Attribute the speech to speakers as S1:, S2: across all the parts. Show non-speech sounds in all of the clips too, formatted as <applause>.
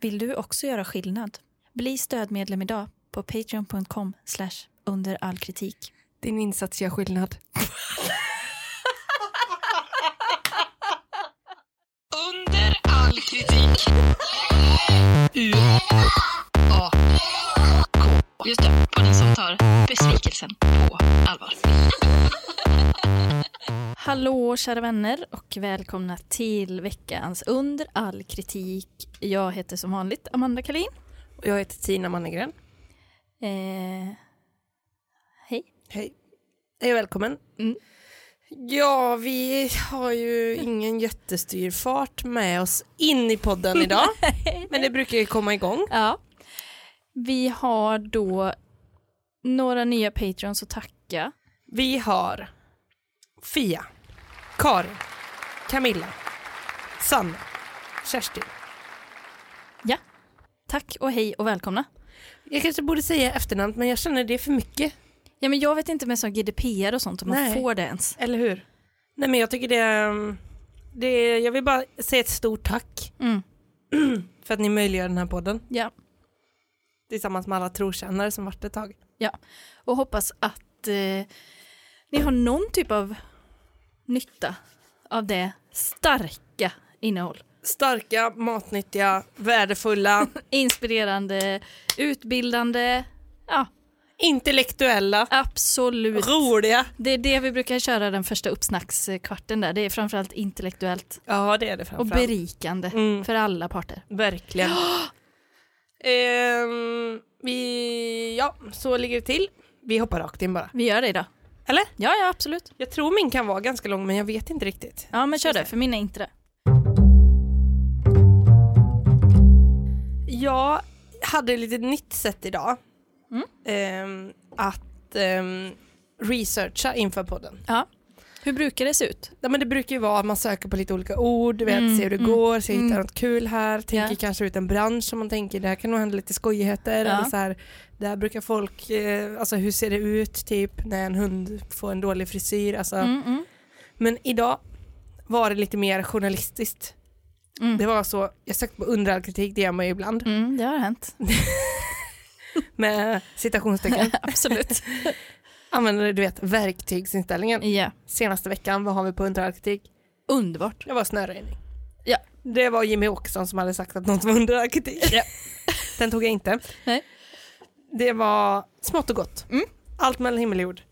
S1: Vill du också göra skillnad? Bli stödmedlem idag på patreon.com under all kritik.
S2: Din insats gör skillnad.
S3: Under all kritik. U A K. Just det, podden som tar besvikelsen på allvar.
S1: <laughs> Hallå kära vänner och välkomna till veckans Under all kritik. Jag heter som vanligt Amanda Kalin.
S2: Jag heter Tina Mannegren.
S1: Eh, hej.
S2: Hej. Hej och välkommen.
S1: Mm.
S2: Ja, vi har ju ingen jättestyrfart med oss in i podden idag. men det brukar ju komma igång.
S1: Ja. Vi har då några nya patreons att tacka.
S2: Vi har Fia, Karin, Camilla, Sanna, Kerstin.
S1: Ja. Tack och hej och välkomna.
S2: Jag kanske borde säga efternamn, men jag känner det är för mycket.
S1: Ja, men jag vet inte med sån GDPR och sånt om man
S2: Nej.
S1: får det ens.
S2: Eller hur? Nej, men jag tycker det, är- det är- Jag vill bara säga ett stort tack
S1: Mm.
S2: <clears throat> för att ni möjliggör den här podden.
S1: Ja.
S2: Tillsammans med alla trotjänare som varit ett tag.
S1: ja. Och hoppas att eh, ni har någon typ av nytta av det starka innehåll.
S2: Starka, matnyttiga,
S1: <laughs>
S2: värdefulla,
S1: Inspirerande, utbildande. Ja,
S2: intellektuella,
S1: absolut.
S2: roliga.
S1: Det är det vi brukar köra den första uppsnackskvarten där. Det är framförallt intellektuellt
S2: Ja, det är det
S1: och
S2: framförallt.
S1: berikande
S2: Mm.
S1: för alla parter. <gasps>
S2: Verkligen. Ehm, vi, ja, så ligger det till. Vi hoppar rakt in bara.
S1: Vi gör det idag.
S2: Eller?
S1: Ja, ja, absolut.
S2: Jag tror min kan vara ganska lång, men jag vet inte riktigt.
S1: Ja, men kör det, för min är inte det.
S2: Jag hade ett litet nytt sätt idag.
S1: Mm.
S2: Ehm, att ehm, researcha inför podden.
S1: Ja. Hur brukar det se ut?
S2: Ja, men det brukar ju vara att man söker på lite olika ord, du vet, ser hur det går, ser hittar något kul här, tänker
S1: Mm, Ja.
S2: kanske ut en bransch som man tänker, där kan nog hända lite skojigheter.
S1: Ja.
S2: Eller så här, där brukar folk, eh, alltså hur ser det ut typ när en hund får en dålig frisyr. Alltså.
S1: Mm, mm.
S2: Men idag var det lite mer journalistiskt.
S1: Mm.
S2: Det var så, jag sökte på under all kritik, det gör man ju ibland,
S1: Mm, det har hänt.
S2: med citationstecken.
S1: <laughs> Absolut.
S2: Använder du vet verktygsinställningen.
S1: ja.
S2: Senaste veckan, vad har vi på under all kritik?
S1: Underbart.
S2: Det var snöröjning.
S1: Ja.
S2: Det var Jimmy Åkesson som hade sagt att något var under all kritik.
S1: Ja.
S2: <laughs> Den tog jag inte.
S1: Nej.
S2: Det var smått och gott.
S1: Mm.
S2: Allt mellan himmel och jord.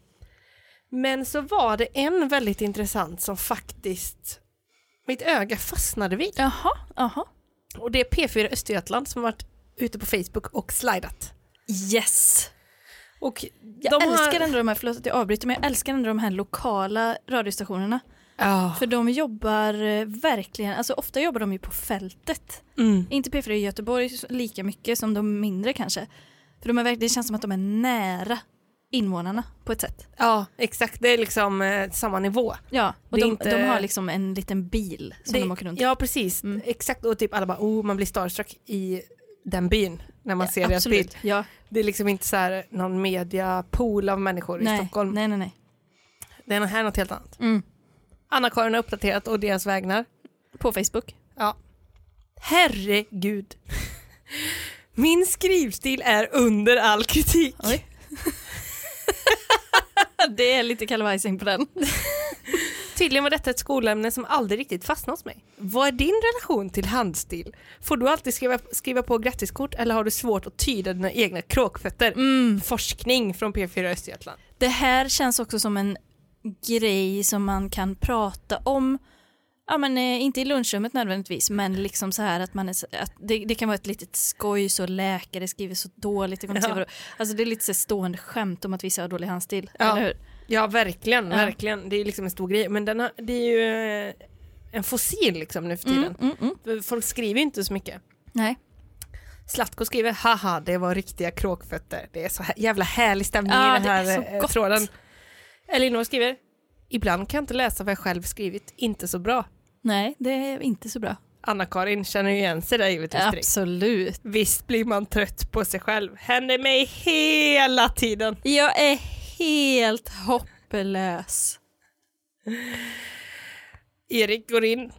S2: Men så var det en väldigt intressant som faktiskt mitt öga fastnade vid.
S1: Jaha, jaha.
S2: Och det är P4 Östergötland som varit ute på Facebook och slidat.
S1: Yes!
S2: Och
S1: Jag älskar ändå de här, förlåt att jag avbryter, men jag älskar ändå de här lokala radiostationerna.
S2: Ja.
S1: För de jobbar eh, verkligen, alltså ofta jobbar de ju på fältet.
S2: Mm.
S1: Inte P4 i Göteborg lika mycket som de mindre kanske. För de är verkligen, det känns som att de är nära invånarna på ett sätt.
S2: ja, exakt. Det är liksom eh, samma nivå.
S1: Ja, och
S2: Det är
S1: de,
S2: inte-
S1: de har liksom en liten bil som
S2: Det-
S1: de åker runt Mm. i.
S2: Ja, precis. Exakt. Och typ alla bara, oh, man blir starstruck i den byn när man ser deras bild.
S1: Absolut. Ja.
S2: Det är liksom inte så här någon mediapool av människor i
S1: Nej,
S2: Stockholm.
S1: nej, nej, nej.
S2: Det är något här något helt annat.
S1: Mm.
S2: Anna-Karin har uppdaterat och deras vägnar.
S1: På Facebook.
S2: Ja. Herregud. Min skrivstil är under all kritik.
S1: Oj. <laughs> det är lite kalvajsing på den.
S2: Tydligen var detta ett skolämne som aldrig riktigt fastnade hos mig. Vad är din relation till handstil? Får du alltid skriva, skriva på grattiskort eller har du svårt att tyda dina egna
S1: Mm.
S2: kråkfötter? Forskning från P4 Östergötland.
S1: Det här känns också som en grej som man kan prata om. Ja, men eh, inte i lunchrummet nödvändigtvis, men liksom så här att, man är, så- att det, det kan vara ett litet skoj så läkare skriver så dåligt. Det, kommer inte
S2: Ja.
S1: skriva, alltså det är lite så här stående skämt om att vissa har dålig handstil,
S2: Ja.
S1: eller hur?
S2: Ja, verkligen,
S1: Ja.
S2: verkligen. Det är liksom en stor grej. Men den har, det är ju eh, en fossil liksom nu för tiden.
S1: Mm, mm.
S2: Folk skriver ju inte så mycket.
S1: Nej.
S2: Zlatko skriver, haha, det var riktiga kråkfötter. Det är så här, jävla härlig stämning
S1: Ja,
S2: i den
S1: det är så
S2: här eh,
S1: gott.
S2: tråden. Elinor skriver, ibland kan jag inte läsa vad jag själv skrivit, inte så bra.
S1: Nej, det är inte så bra.
S2: Anna-Karin känner ju igen sig där givetvis direkt.
S1: Absolut.
S2: Visst blir man trött på sig själv, händer mig hela tiden.
S1: Jag är helt hopplös.
S2: Erik går in,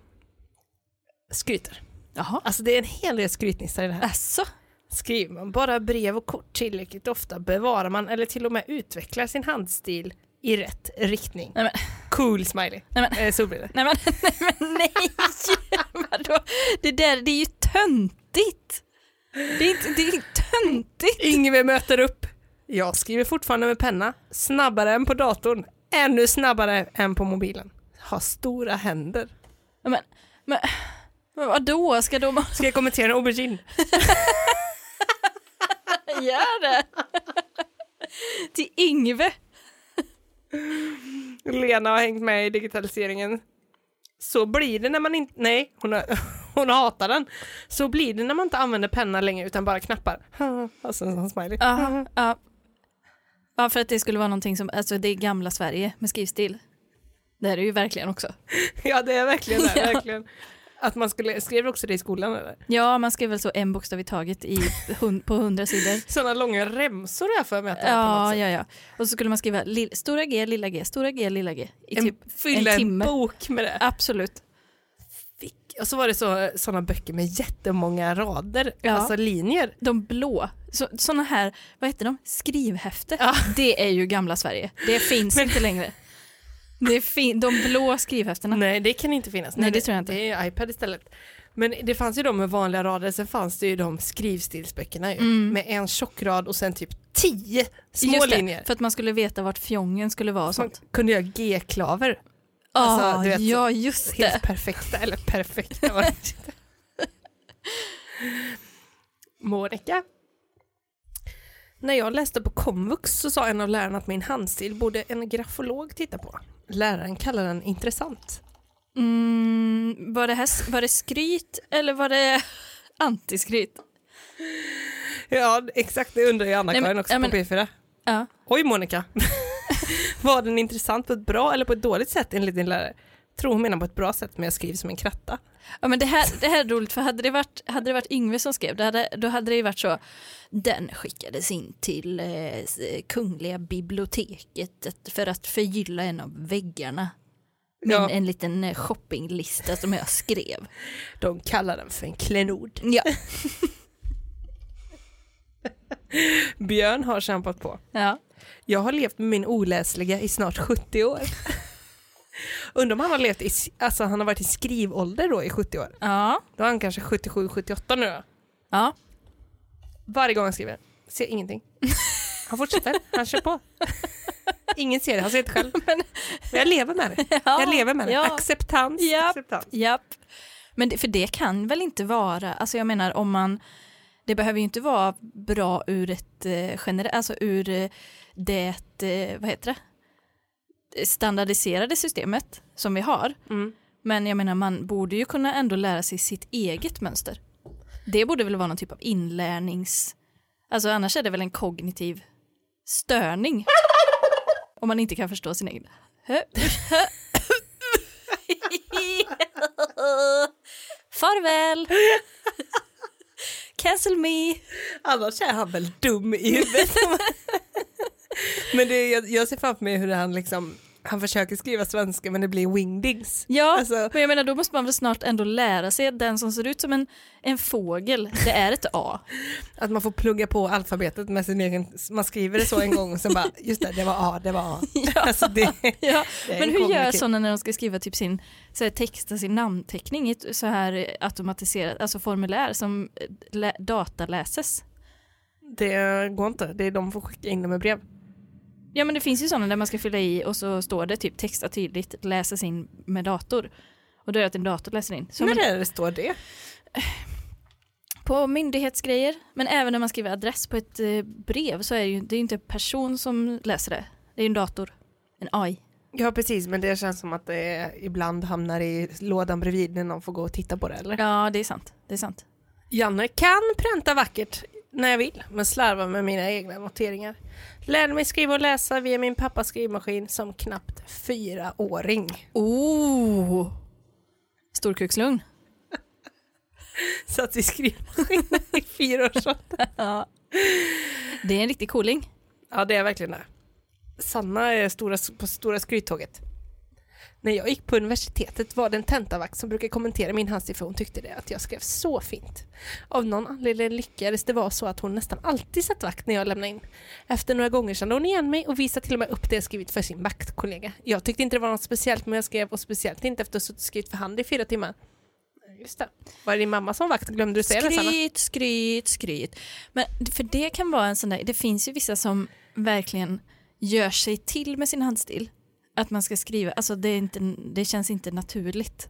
S2: skryter.
S1: Jaha.
S2: Alltså det är en hel del skrytnissar i det här.
S1: Alltså.
S2: Skriver man bara brev och kort tillräckligt ofta bevarar man eller till och med utvecklar sin handstil i rätt riktning.
S1: Nej men,
S2: Cool smiley.
S1: nej men,
S2: Eh, så blir det.
S1: nej men, <laughs> nej men, nej! <laughs> Vadå? Det där, det är ju töntigt! Det är, inte, det är töntigt!
S2: Yngve möter upp. Jag skriver fortfarande med penna, snabbare än på datorn, ännu snabbare än på mobilen. Har stora händer.
S1: Nej Men, men, men vadå, ska de <laughs>
S2: Ska jag kommentera en aubergine?
S1: göra det? <laughs> Till Yngve?
S2: Lena har hängt med i digitaliseringen. Så blir det när man inte, nej, hon, har, <laughs> hon hatar den. Så blir det när man inte använder penna längre utan bara knappar. <laughs> Och sen en smiley.
S1: Ja, ja. Ja, för att det skulle vara någonting som, alltså det är gamla Sverige med skrivstil. Det här är ju verkligen också.
S2: <laughs> Ja, det är verkligen det.
S1: <laughs> Ja.
S2: Verkligen. Att man skulle, skrev du också det i skolan eller?
S1: Ja, man skrev väl så en bokstav i taget i, hun- på hundra
S2: <laughs>
S1: sidor.
S2: Sådana långa remsor har jag för mig att det är på något
S1: Ja,
S2: sätt.
S1: ja, ja. Och så skulle man skriva lill- stora G, lilla G, stora G, lilla G. I
S2: En,
S1: typ,
S2: fylla
S1: en
S2: en,
S1: timme.
S2: bok med det.
S1: absolut.
S2: Fick. Och så var det så, sådana böcker med jättemånga rader,
S1: Ja.
S2: alltså linjer.
S1: De blå, så, såna här, vad heter de, skrivhäfte.
S2: Ja.
S1: Det är ju gamla Sverige. Det finns inte längre. Det fin- de blå <laughs> skrivhäftena.
S2: Nej, det kan inte finnas.
S1: Nej, det tror jag inte.
S2: Det är ju iPad istället. Men det fanns ju de med vanliga rader, sen fanns det ju de skrivstilsböckerna ju, med en tjock rad och sen typ tio små
S1: Mm. Just det,
S2: linjer.
S1: för att man skulle veta vart fjongen skulle vara och
S2: Man
S1: sånt.
S2: kunde göra G-klaver,
S1: Ah,
S2: alltså, du vet,
S1: ja, just det.
S2: helt perfekta, eller perfekta var
S1: <laughs>
S2: det inte. Monica. När jag läste på komvux så sa en av lärarna att min handstil borde en grafolog titta på. Läraren kallar den intressant.
S1: Mm, var, det här, var det skryt eller var det antiskryt?
S2: Ja, exakt. Det undrar ju
S1: Nej,
S2: Anna-Karin
S1: men-
S2: också
S1: ja, men-
S2: på P4.
S1: Ja.
S2: Oj Monica! <laughs> Var den intressant på ett bra eller på ett dåligt sätt enligt din lärare? Tror hon menar på ett bra sätt men jag skriver som en kratta.
S1: Ja, men det, här, det här är roligt, för hade det varit, hade det varit Yngve som skrev, det hade, då hade det ju varit så. Den skickades in till eh, s- Kungliga biblioteket att- för att förgylla en av väggarna. Med
S2: Ja.
S1: en, en liten eh, shoppinglista som jag skrev.
S2: De kallar den för en klenod.
S1: Ja.
S2: Björn har kämpat på.
S1: ja.
S2: Jag har levt med min oläsliga i snart 70 <laughs> år. Undrar om han har levt i, alltså han har varit i skrivålder då i 70 år.
S1: Ja.
S2: Då är han kanske 77-78 nu då.
S1: Ja.
S2: Varje gång han skriver, ser ingenting. Han fortsätter, han kör på. Ingen ser det, han ser inte själv. <laughs> Men jag lever med det. Jag lever med det.
S1: Ja.
S2: Acceptans.
S1: Ja.
S2: Acceptans.
S1: Japp. Men det, för det kan väl inte vara, alltså jag menar om man, det behöver ju inte vara bra ur ett eh, generellt, alltså ur eh, det, eh, vad heter det, standardiserade systemet som vi har.
S2: Mm.
S1: Men jag menar man borde ju kunna ändå lära sig sitt eget mönster. Det borde väl vara någon typ av inlärnings, alltså annars är det väl en kognitiv störning. Om man inte kan förstå sin egen. <laughs> <laughs> Farväl! Cancel me!
S2: Annars är han väl dum i huvudet. <laughs> men det, jag, jag ser framför mig hur han liksom, han försöker skriva svenska men det blir wingdings.
S1: Ja,
S2: Alltså-
S1: men jag menar då måste man väl snart ändå lära sig att den som ser ut som en, en fågel, det är ett
S2: <laughs>
S1: A.
S2: Att man får plugga på alfabetet med sin egen, man skriver det så en gång och sen bara, just det, det var A, det var A. Alltså det,
S1: <laughs> Ja,
S2: <laughs> Det är
S1: men
S2: en
S1: hur gör
S2: kognitiv-
S1: sådana när de ska skriva typ sin, så här, texta sin namnteckning i ett så här automatiserat, alltså formulär som eh, lä- dataläses?
S2: det går inte, det är de får skicka in dem med brev.
S1: Ja men det finns ju sådana där man ska fylla i och så står det typ texta tydligt, läses in med dator. Och då är det att en dator läser in. Så
S2: När
S1: men,
S2: är det det står det?
S1: på myndighetsgrejer, men även när man skriver adress på ett eh, brev så är det ju det är ju inte en person som läser det. Det är ju en dator, en AI.
S2: Ja precis, men det känns som att det ibland hamnar i lådan bredvid när någon får gå och titta på det eller?
S1: Ja det är sant, det är sant.
S2: Janne kan pränta vackert när jag vill, men slarvar med mina egna noteringar. Lärde mig skriva och läsa via min pappas skrivmaskin som knappt fyraåring.
S1: Oh! Storkukslugn.
S2: Satt i <laughs> skrivmaskinen i fyra år sedan.
S1: Det är en riktig cooling.
S2: Ja, det är verkligen det. Sanna är stora, på stora skryttåget. När jag gick på universitetet var det en tentavakt som brukade kommentera min handstil för hon tyckte det att jag skrev så fint. Av någon anledning lyckades det vara så att hon nästan alltid satt vakt när jag lämnade in. Efter några gånger kände hon igen mig och visade till och med upp det jag skrivit för sin vaktkollega. Jag tyckte inte det var något speciellt men jag skrev och speciellt inte efter att ha suttit och skrivit för hand i fyra timmar. Just det. Var det din mamma som var vakt? Glömde du säga det Sanna?
S1: Skryt, skryt, skryt. Men för det kan vara en sån där, det finns ju vissa som verkligen gör sig till med sin handstil. Att man ska skriva, alltså det, är inte, det känns inte naturligt.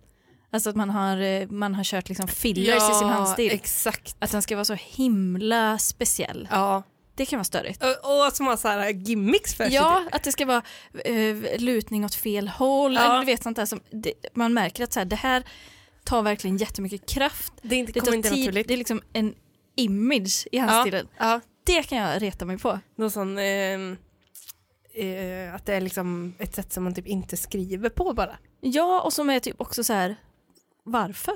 S1: Alltså att man har, eh, man har kört liksom fillers i sin handstil.
S2: exakt.
S1: att den ska vara så himla speciell.
S2: Ja.
S1: Det kan vara störigt.
S2: Eh, Och, och som har så här gimmicks för sig.
S1: Ja, att det ska vara eh, lutning åt fel håll.
S2: Ja.
S1: Eller du vet sånt där som det, man märker att så här, det här tar verkligen jättemycket kraft.
S2: typ. Det, är inte,
S1: Det
S2: kommer
S1: tar
S2: inte
S1: tid,
S2: naturligt.
S1: det är liksom en image i handstilen.
S2: ja.
S1: Det kan jag reta mig på.
S2: Någon sån, ehm, eh, att det är liksom ett sätt som man typ inte skriver på bara.
S1: Ja, och som är typ också så här,
S2: <laughs>
S1: varför?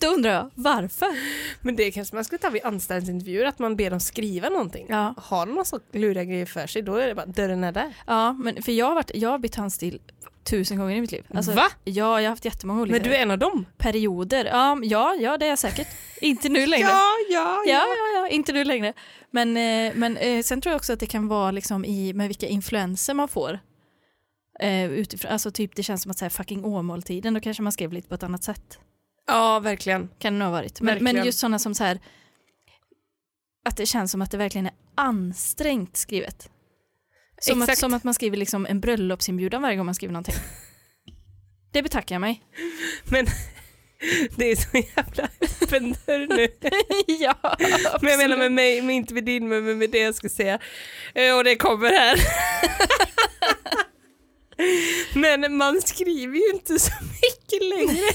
S1: Då undrar jag, varför?
S2: Men det kanske man skulle ta vid anställningsintervjuer, att man ber dem skriva någonting.
S1: Ja.
S2: Har de någon sån luriga grej för sig, då är det bara dörren är där.
S1: Ja, men för jag har, varit, jag har bytt handstil tusen gånger i mitt liv. Alltså,
S2: Va?
S1: Ja, jag har haft jättemånga olika
S2: Men du är en av dem?
S1: perioder. Ja, men- ja, ja, det är jag säkert. Inte
S2: <laughs>
S1: nu längre.
S2: ja,
S1: Ja, ja, ja, inte nu längre. Men, eh, men eh, sen tror jag också att det kan vara liksom i, med vilka influenser man får. Eh, utifrån, alltså typ det känns som att säga fucking Åmåltiden, då kanske man skrev lite på ett annat sätt.
S2: Ja, verkligen.
S1: Kan det nog ha varit. Men, men
S2: Verkligen.
S1: just sådana som så här, att det känns som att det verkligen är ansträngt skrivet. Som, att,
S2: Exakt.
S1: som att man skriver liksom en bröllopsinbjudan varje gång man skriver <laughs> någonting. Det betackar jag mig.
S2: Men det är så jävla <laughs> öppen dörr nu.
S1: <laughs> ja,
S2: <laughs> Men jag menar med mig, men inte med din, men med- med det jag ska säga. Eh, Och det kommer här. <laughs> men man skriver ju inte så mycket <laughs> längre.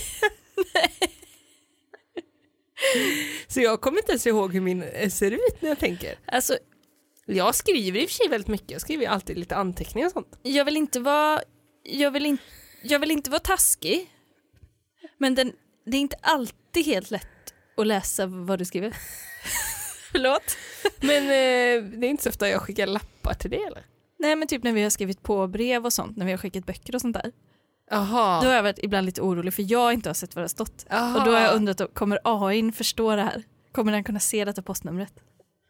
S2: så jag kommer inte ens ihåg hur min eh, ser ut när jag tänker.
S1: Alltså,
S2: Jag skriver i och för sig väldigt mycket, jag skriver ju alltid lite anteckningar och sånt.
S1: jag vill inte vara, jag vill, in, jag vill inte vara taskig. Men den, det är inte alltid helt lätt att läsa vad du <laughs> skriver. Förlåt?
S2: Men eh, det är inte så ofta jag skickar lappar till det eller?
S1: Nej men typ när vi har skrivit på brev och sånt, när vi har skickat böcker och sånt där. Då
S2: Jaha.
S1: har jag varit ibland lite orolig för jag inte har sett vad det har stått.
S2: Aha.
S1: Och då har jag undrat, kommer AIn förstå det här? Kommer den kunna se detta postnumret?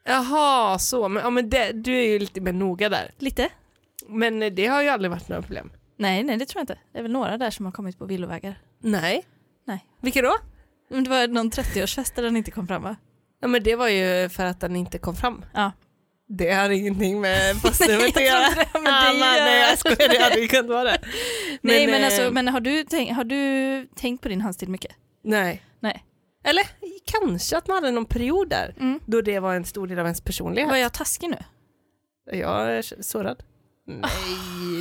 S2: Jaha, så. Men, ja, men det, du är ju lite mer noga där.
S1: Lite?
S2: Men eh, det har ju aldrig varit några problem.
S1: Nej, nej det tror jag inte. Det är väl några där som har kommit på villovägar.
S2: Nej.
S1: Nej.
S2: Vilka då?
S1: Men det var någon 30-årsfest där den inte kom fram va?
S2: Ja men det var ju för att den inte kom fram.
S1: Ja.
S2: Det har ingenting <laughs> med postnumret att
S1: Nej, <laughs> jag
S2: göra.
S1: tror inte det, men
S2: Ah,
S1: det
S2: man,
S1: gör-
S2: Nej jag skojar, det hade ju kunnat vara <laughs> det.
S1: nej men
S2: eh,
S1: alltså, men har du, tänkt, har du tänkt på din handstil mycket?
S2: Nej.
S1: Nej.
S2: Eller kanske att man hade någon period där
S1: Mm.
S2: då det var en stor del av ens
S1: Var
S2: personlighet.
S1: jag taskig nu?
S2: Jag är sårad. Nej,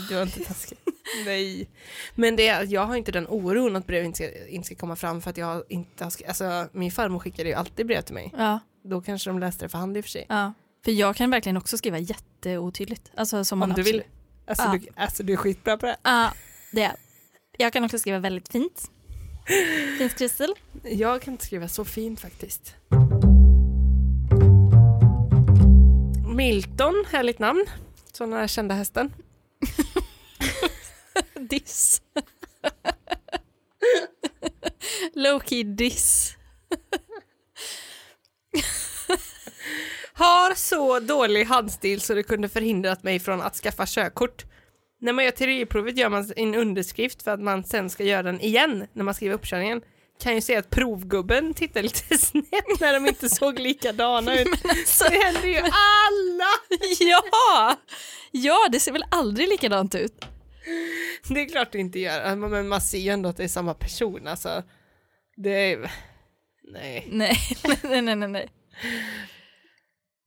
S2: du var inte taskig. <laughs> Nej. Men det, är- jag har inte den oron att brev inte ska, inte ska komma fram för att jag inte har skri- Alltså min farmor skickade ju alltid brev till mig.
S1: Ja,
S2: Då kanske de läste det för hand i och för sig.
S1: ja. För jag kan verkligen också skriva jätteotydligt. Alltså som man
S2: Om du
S1: absolut-
S2: vill. Alltså,
S1: Ja.
S2: du, alltså du är skitbra på det.
S1: Ja, det är jag. kan också skriva väldigt fint. Fint Kristel.
S2: Jag kan inte skriva så fint faktiskt. Milton, härligt namn. Sådana kända hästen.
S1: Diss. <laughs> Low key diss. <laughs>
S2: Har så dålig handstil så det kunde förhindrat mig från att skaffa körkort. När man gör teoriprovet gör man en underskrift för att man sen ska göra den igen när man skriver uppkörningen. Kan ju säga att provgubben tittar lite <laughs> snett när de inte såg likadana <laughs> ut.
S1: Alltså,
S2: Det händer ju alla!
S1: ja! Ja, det ser väl aldrig likadant ut?
S2: Det är klart det inte gör, Alltså, men man ser ju ändå att det är samma person alltså. Det är... Nej.
S1: Nej, <laughs> nej, nej, nej. nej.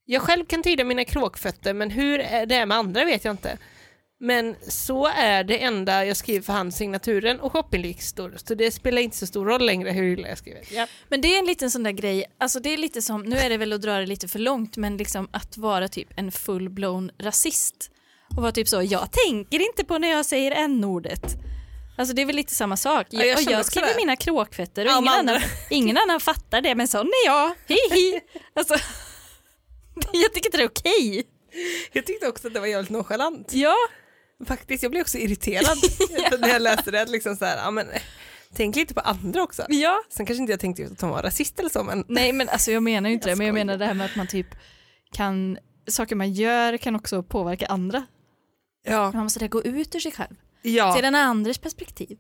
S2: Jag själv kan tyda mina kråkfötter men hur är det är med andra vet jag inte. Men så är det enda jag skriver för hand, signaturen och shoppinglistor. Så det spelar inte så stor roll längre hur illa jag skriver. Ja.
S1: Men det är en liten sån där grej, alltså det är lite som, nu är det väl att dra det lite för långt, men liksom att vara typ en full-blown rasist och vara typ så, jag tänker inte på när jag säger n-ordet. Alltså det är väl lite samma sak.
S2: Ja,
S1: Jag,
S2: jag
S1: och
S2: känner
S1: jag
S2: också
S1: skriver
S2: det.
S1: mina kråkfötter och
S2: Ja,
S1: ingen,
S2: men
S1: annan,
S2: andra-
S1: ingen annan fattar det, men sån är jag. Hi, <laughs> hi. Alltså, jag tycker inte det är okej.
S2: Jag tyckte också att det var jävligt nonchalant.
S1: Ja,
S2: Faktiskt, jag blev också <laughs> irriterad när jag läste det. att Liksom så här, ja, men, eh, tänk lite på andra också.
S1: Ja.
S2: Sen kanske inte jag tänkte just att de var rasist eller så, men
S1: Nej men alltså jag menar ju inte
S2: Jag
S1: det, men jag
S2: skojar.
S1: menar det här med att man typ kan, saker man gör kan också påverka andra.
S2: ja.
S1: Man måste där gå ut ur sig själv, se
S2: ja.
S1: den andres perspektiv.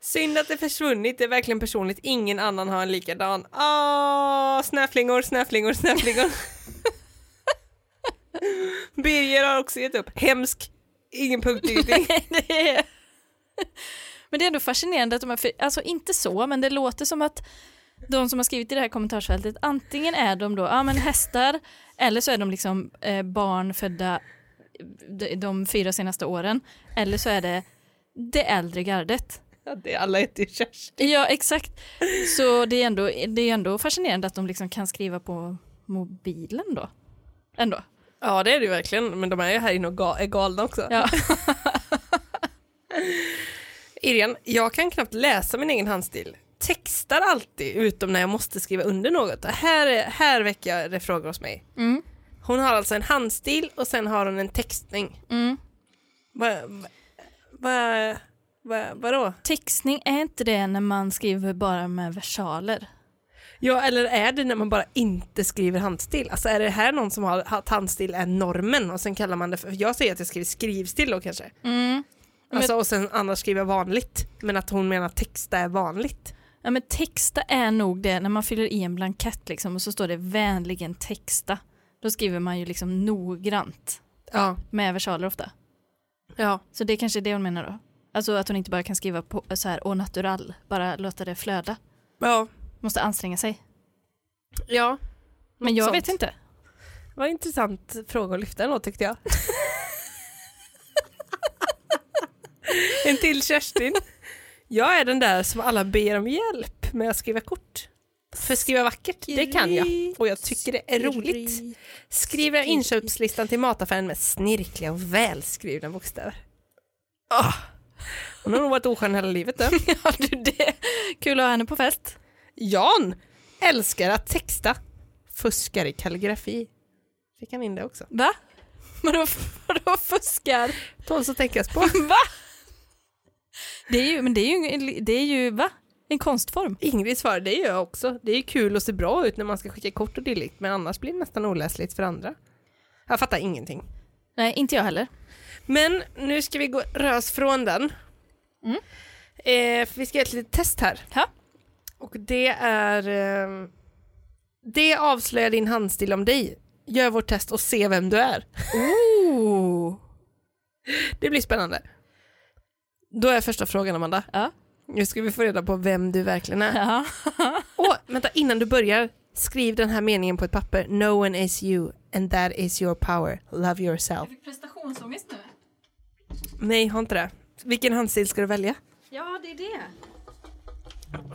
S2: Synd att det försvunnit, det är verkligen personligt. Ingen annan har en likadan. Åh, snöflingor, snöflingor, <laughs> snöflingor. Birger har också gett upp. Hemsk, ingen punktering.
S1: Det är- men det är ändå fascinerande att de här, för, alltså inte så, men det låter som att de som har skrivit i det här kommentarsfältet, antingen är de då ja, men hästar eller så är de liksom eh, barn födda de, de fyra senaste åren eller så är det det äldre gardet.
S2: <laughs> Ja, det är alla heter ju Kerstin.
S1: Ja, exakt. Så det är ändå, det är ändå fascinerande att de liksom kan skriva på mobilen då. Ändå.
S2: Ja, det är det ju verkligen. Men de är ju här inne och ga- är galna också.
S1: Ja.
S2: <laughs> Irene, jag kan knappt läsa min egen handstil. Textar alltid, utom när jag måste skriva under något. Här, är- här väcker det frågor hos mig.
S1: Mm.
S2: Hon har alltså en handstil och sen har hon en textning.
S1: Mm.
S2: Va, va, va, va, vadå?
S1: Textning, är inte det när man skriver bara med versaler?
S2: Ja, eller är det när man bara inte skriver handstil? Alltså är det här någon som har att handstil är normen och sen kallar man det för... Jag säger att jag skriver skrivstil då kanske.
S1: Mm.
S2: Alltså, och sen annars skriver jag vanligt. Men att hon menar att texta är vanligt.
S1: Ja, men texta är nog det när man fyller i en blankett liksom, och så står det vänligen texta. Då skriver man ju liksom noggrant
S2: Ja.
S1: med versaler ofta.
S2: ja.
S1: Så det är kanske är det hon menar då. Alltså att hon inte bara kan skriva på så här au natural, bara låta det flöda.
S2: Ja.
S1: Måste anstränga sig.
S2: Ja.
S1: Men jag
S2: sånt.
S1: vet inte.
S2: Vad intressant fråga att lyfta ändå tyckte jag. <laughs> en till Kerstin. Jag är den där som alla ber om hjälp med att skriva kort. För skriva vackert, det kan jag. Och jag tycker det är roligt. Skriver jag inköpslistan till mataffären med snirkliga och välskrivna bokstäver. Oh. Hon har nog varit oskön hela livet då.
S1: <laughs> Ja, du det. Kul att ha henne på fest.
S2: Jan älskar att texta. Fuskar i kalligrafi. Fick han in det också.
S1: Va? Vadå, vadå fuskar?
S2: Tåls att tänkas på.
S1: Va? Det är ju, men det är ju, en- det är ju va? En konstform.
S2: Ingrid svarar, det gör jag också. Det är ju kul och ser bra ut när man ska skicka kort och dylikt, men annars blir det nästan oläsligt för andra. Jag fattar ingenting.
S1: Nej, inte jag heller.
S2: Men nu ska vi gå röra oss från den. Eh, för vi ska göra ett litet test här.
S1: Ja.
S2: Och det är... Eh, det avslöjar din handstil om dig. Gör vårt test och se vem du är.
S1: Oh.
S2: Det blir spännande. Då är första frågan, Amanda.
S1: Ja.
S2: Nu ska vi få reda på vem du verkligen är.
S1: <laughs> Ja.
S2: Åh, vänta, innan du börjar, skriv den här meningen på ett papper. No one is you and that is your power. Love yourself.
S1: fick prestationsångest nu.
S2: Nej, har inte det. Vilken handstil ska du välja?
S1: Ja, det är det.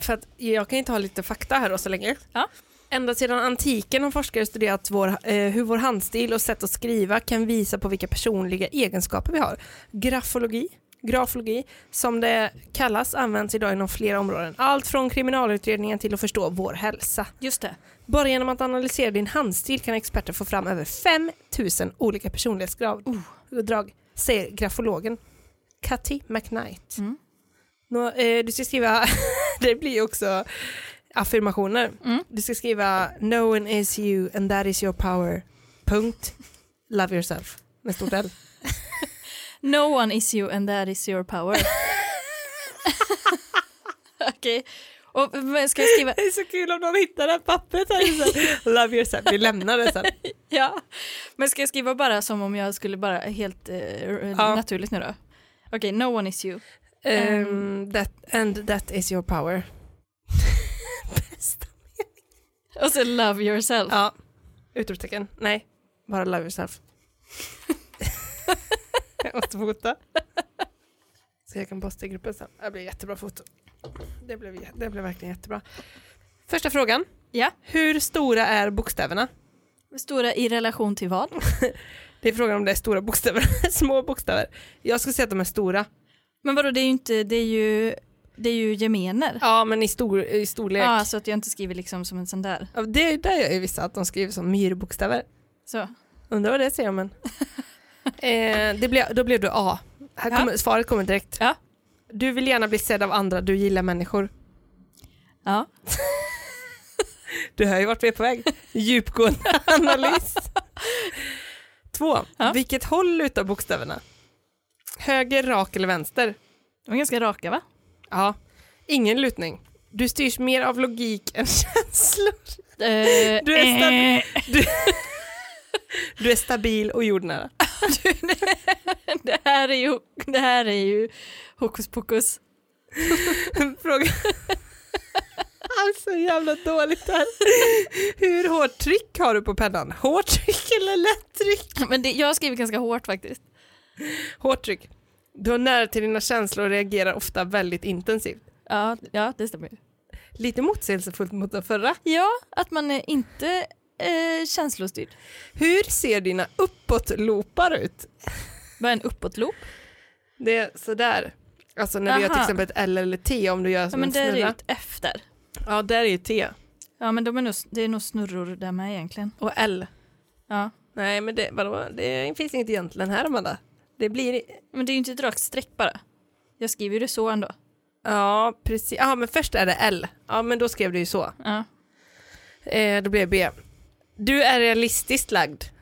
S2: För att jag kan inte ha lite fakta här då så länge.
S1: Ja.
S2: Ända sedan antiken har forskare studerat vår, eh, hur vår handstil och sätt att skriva kan visa på vilka personliga egenskaper vi har. Grafologi, grafologi som det kallas, används idag inom flera områden. Allt från kriminalutredningen till att förstå vår hälsa.
S1: Just det.
S2: Bara genom att analysera din handstil kan experter få fram över 5000 olika personlighetsdrag, drag, säger grafologen Cathy McKnight.
S1: Mm.
S2: Nå, eh, du ska skriva, <laughs> det blir ju också affirmationer.
S1: Mm.
S2: Du ska skriva No one is you and that is your power. Punkt. Love yourself. Med stort L.
S1: No one is you and that is your <laughs> power. Okej. Och men ska jag skriva?
S2: <laughs> Det är så kul om någon hittar det här pappret här. <laughs> Love yourself. Vi lämnar <laughs> det sen.
S1: <laughs> Ja. Men ska jag skriva bara som om jag skulle bara helt eh,
S2: Ja.
S1: naturligt nu då? Okej, no one is you.
S2: Ehm, that, and that is your power. Bästa.
S1: Och så love yourself.
S2: Ja. Utropstecken. Nej, bara love yourself. <laughs> jag måste fota. Så jag kan posta i gruppen sen. Det blir jättebra foto. Det blev, jä- det blev verkligen jättebra. Första frågan.
S1: Ja.
S2: Hur stora är bokstäverna?
S1: Stora i relation till vad?
S2: Det är frågan om det är stora bokstäver eller <laughs> små bokstäver. Jag skulle säga att de är stora.
S1: Men vadå, det är ju inte, det är ju, det är ju gemener.
S2: Ja, men i, stor, i storlek.
S1: Ja, så att jag inte skriver liksom som en sån där.
S2: Ja, Det är där jag är vissa att de skriver som myrbokstäver.
S1: Så. <laughs>
S2: Undrar vad det säger om en. Eh, det blev, då blev du A. Här
S1: Ja.
S2: kommer, Svaret kommer direkt.
S1: Ja.
S2: Du vill gärna bli sedd av andra, du gillar människor.
S1: Ja.
S2: Du har ju vart vi är på väg. <laughs> Djupgående analys. Två.
S1: Ja.
S2: Vilket håll lutar bokstäverna? Höger, rak eller vänster?
S1: De är ganska raka va?
S2: Ja. Ingen lutning. Du styrs mer av logik än <laughs> känslor.
S1: Eh,
S2: Du är stabil. Du är stabil och jordnära.
S1: det, här är ju, det här är ju hokus pokus.
S2: <laughs> Fråga... Han är så jävla dåligt här. <laughs> Hur hårt tryck har du på pennan? Hårt tryck eller lätt tryck?
S1: Men det, jag skriver ganska hårt faktiskt.
S2: Hårt tryck. Du har nära till dina känslor och reagerar ofta väldigt intensivt.
S1: Ja, ja det stämmer ju.
S2: Lite motsägelsefullt mot den förra.
S1: Ja, att man är inte eh, känslostyrd.
S2: Hur ser dina uppåtloopar ut?
S1: Bara en uppåtloop.
S2: Det är sådär. Alltså när du gör till
S1: Aha.
S2: exempel ett L eller T om du gör
S1: Ja,
S2: som
S1: men
S2: en
S1: det är ju
S2: snurra.
S1: ett F där.
S2: Ja, där är ju T.
S1: Ja, men de är nog, det är nog snurror där med egentligen.
S2: Och L.
S1: Ja.
S2: Nej, men det, vadå? det finns inget egentligen här, Amanda. Det blir...
S1: Men det är ju inte ett rakt streck bara. Jag skriver ju det så ändå.
S2: Ja, precis. Ja, men först är det L. Ja, men då skrev du ju så.
S1: <laughs> Ja.
S2: Eh, då blev det B. Du är
S1: <laughs>
S2: realistiskt lagd. <laughs>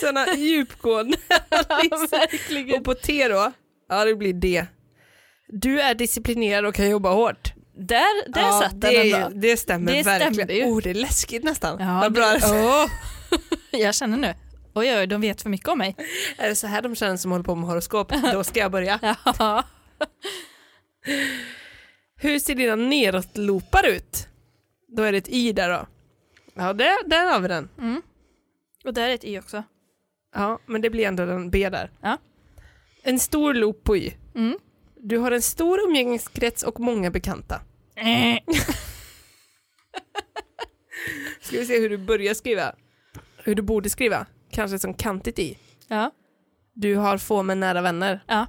S2: Sådana djupgående analyser.
S1: verkligen.
S2: Och på T då? Ja, det blir D. Du är disciplinerad och kan jobba hårt.
S1: Där, där
S2: ja,
S1: satt den
S2: det,
S1: ändå.
S2: det stämmer
S1: Det stämde
S2: verkligen.
S1: ju.
S2: Oh, det är läskigt nästan.
S1: Ja,
S2: Vad bra.
S1: det- <laughs> Jag känner nu. Oj, oj, de vet för mycket om mig.
S2: <laughs> Är det så här de känner som håller på med horoskop? Då ska jag börja.
S1: <laughs> Ja.
S2: Hur ser dina nedåtlopar ut? Då är det ett Y där då. Ja, där, där har vi den.
S1: Och där är ett Y också.
S2: Ja, men det blir ändå den B där.
S1: Ja.
S2: En stor loop på Y.
S1: Mm.
S2: Du har en stor umgängeskrets och många bekanta. Ska vi se hur du börjar skriva? Hur du borde skriva? Kanske som kantigt i.
S1: <laughs> Ja,
S2: Du har få men nära vänner.
S1: ja.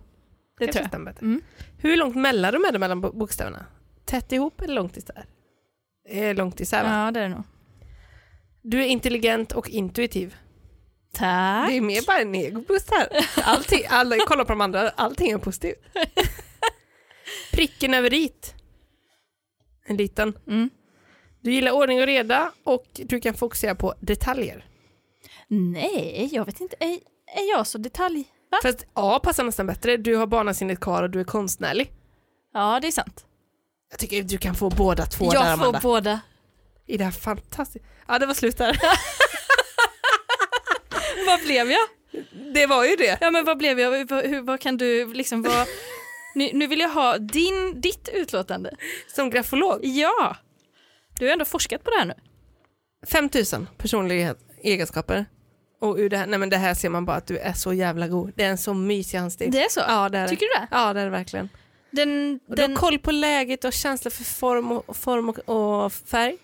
S1: Det
S2: Kanske
S1: tror jag.
S2: stämmer bättre.
S1: Mm.
S2: Hur långt mellanrum är det mellan bo- bokstäverna? Tätt ihop eller långt isär? Eh, långt isär va?
S1: Ja, det är det nog.
S2: Du är intelligent och intuitiv.
S1: Tack.
S2: Det är mer bara en egoboost här. Allting, alla, kolla på de andra, allting
S1: <laughs>
S2: är positivt. Pricken över it. En liten.
S1: Mm.
S2: Du gillar ordning och reda och du kan fokusera på detaljer.
S1: Nej, jag vet inte. Är, är jag så detalj? Va?
S2: Fast A passar nästan bättre. Du har barnasinnet kvar och du är konstnärlig.
S1: Ja, det är sant.
S2: Jag tycker du kan få båda två där
S1: jag får
S2: Amanda.
S1: båda.
S2: I det här fantastiska. Ja, det var slut där.
S1: Vad blev jag?
S2: <laughs> Det var ju det.
S1: Ja, men vad blev jag? Vad, hur, vad kan du liksom vad... Nu, nu vill jag ha din, ditt utlåtande.
S2: Som grafolog.
S1: Ja! Du har ändå forskat på det här nu.
S2: 5000 personliga egenskaper. Och ur det här, nej men det här ser man bara att du är så jävla god. Det är en så mysig handstil.
S1: Det är så?
S2: Ja, det är det.
S1: Tycker du det?
S2: Ja, det är det verkligen.
S1: Den,
S2: Och Du
S1: den,
S2: har koll på läget och känsla för form och, och form och, och färg.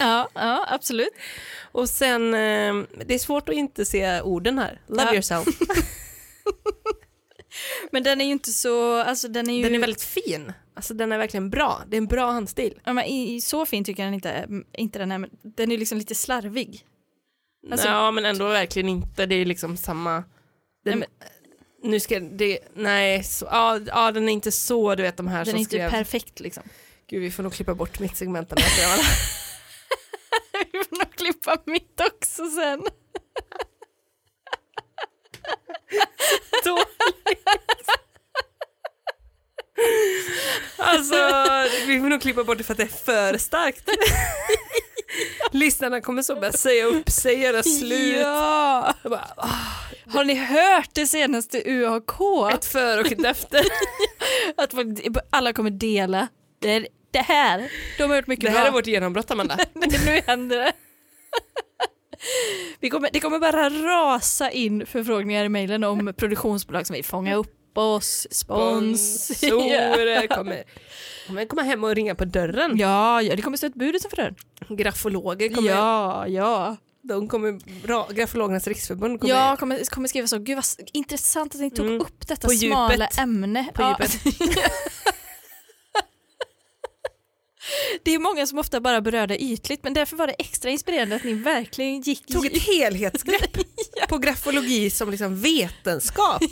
S1: ja, ja, absolut.
S2: Och sen, eh, det är svårt att inte se orden här. Love
S1: Ja.
S2: <laughs> yourself.
S1: Men den är ju inte så... Alltså, den är ju...
S2: Den är väldigt fin. Alltså den är verkligen bra. Det är en bra handstil.
S1: Ja, men i, i så fin tycker jag den inte, är- inte den är. men Den är liksom lite slarvig. Alltså-
S2: ja, men ändå verkligen inte. Det är liksom samma... Den,
S1: Nej,
S2: Nu ska det... Nej, så, ja, ja, den är inte så, du vet de här
S1: Den är
S2: som
S1: inte
S2: skrev...
S1: perfekt liksom.
S2: Gud, vi får nog klippa bort mitt segment. annars är jag-
S1: <laughs> Vi får nog klippa mitt också sen.
S2: Då- Alltså, vi får nog klippa bort det för att det är för starkt. Lyssnarna kommer så börja säga upp sig, göra slut.
S1: Ja!
S2: Jag Bara, ah,
S1: Har ni hört det senaste UAK?
S2: ett före och ett efter.
S1: Att folk- alla kommer dela. Det, är, det här, de har gjort mycket
S2: Det här är
S1: bra.
S2: vårt genombrott, Amanda.
S1: nu händer <laughs> det. Vi kommer, det kommer bara rasa in förfrågningar i mejlen om produktionsbolag som vill fånga upp oss, spons.
S2: <laughs> Sponsorer kommer, kommer komma hem och ringa på
S1: <laughs>
S2: dörren.
S1: Ja, ja, det kommer stå ett bud utanför dörren.
S2: Grafologer kommer,
S1: Ja, ja.
S2: de kommer, bra, Grafologernas riksförbund kommer
S1: Jag kommer, kommer skriva så, gud vad s- intressant att ni tog
S2: Mm.
S1: upp detta
S2: På djupet.
S1: smala ämne.
S2: på
S1: Ja.
S2: djupet.
S1: Det är många som ofta bara berör det ytligt men därför var det extra inspirerande att ni verkligen gick <laughs>
S2: Tog ett helhetsgrepp på grafologi som liksom
S1: <laughs>
S2: vetenskap.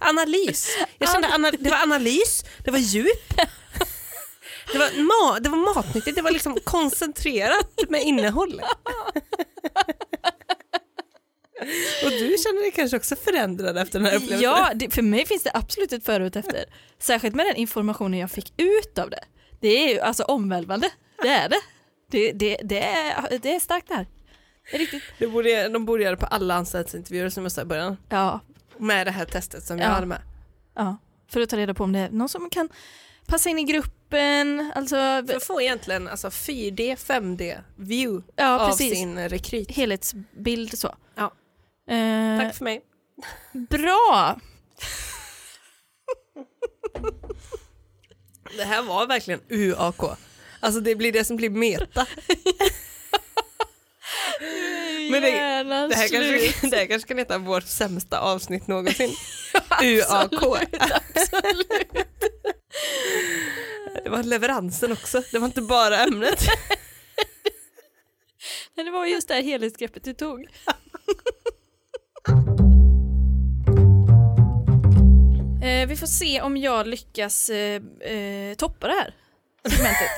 S2: Analys. Jag kände ana det var analys, det var djup. Det var, ma det var matnyttigt, det var liksom koncentrerat med innehåll. Och du känner dig kanske också förändrad efter den här upplevelsen?
S1: Ja, det, för mig finns det absolut ett före och ett efter. Särskilt med den informationen jag fick ut av det. Det är ju alltså omvälvande. Det är det. Det, det, det, är, det är starkt det här. Det är riktigt.
S2: Det borde, de borde göra det på alla anstaltsintervjuer som jag sa i början.
S1: Ja,
S2: Med det här testet som jag
S1: Ja.
S2: hade med.
S1: ja. För att ta reda på om det är någon som kan passa in i gruppen. Alltså,
S2: För att få egentligen alltså 4D, 5D view
S1: ja,
S2: av
S1: precis.
S2: sin rekryt.
S1: Helhetsbild så.
S2: Ja.
S1: Eh,
S2: Tack för mig.
S1: Bra!
S2: Det här var verkligen UAK. Alltså det blir det som
S1: <laughs>
S2: blir meta. Men det-
S1: Hjärnan
S2: Det här
S1: slut.
S2: kanske, det här kanske kan heta vårt sämsta
S1: <laughs>
S2: avsnitt någonsin. <laughs> UAK. Det var leveransen också, det var inte bara ämnet.
S1: Men det var just det här helhetsgreppet du tog. <laughs> eh, vi får se om jag lyckas eh, eh, toppa det här segmentet.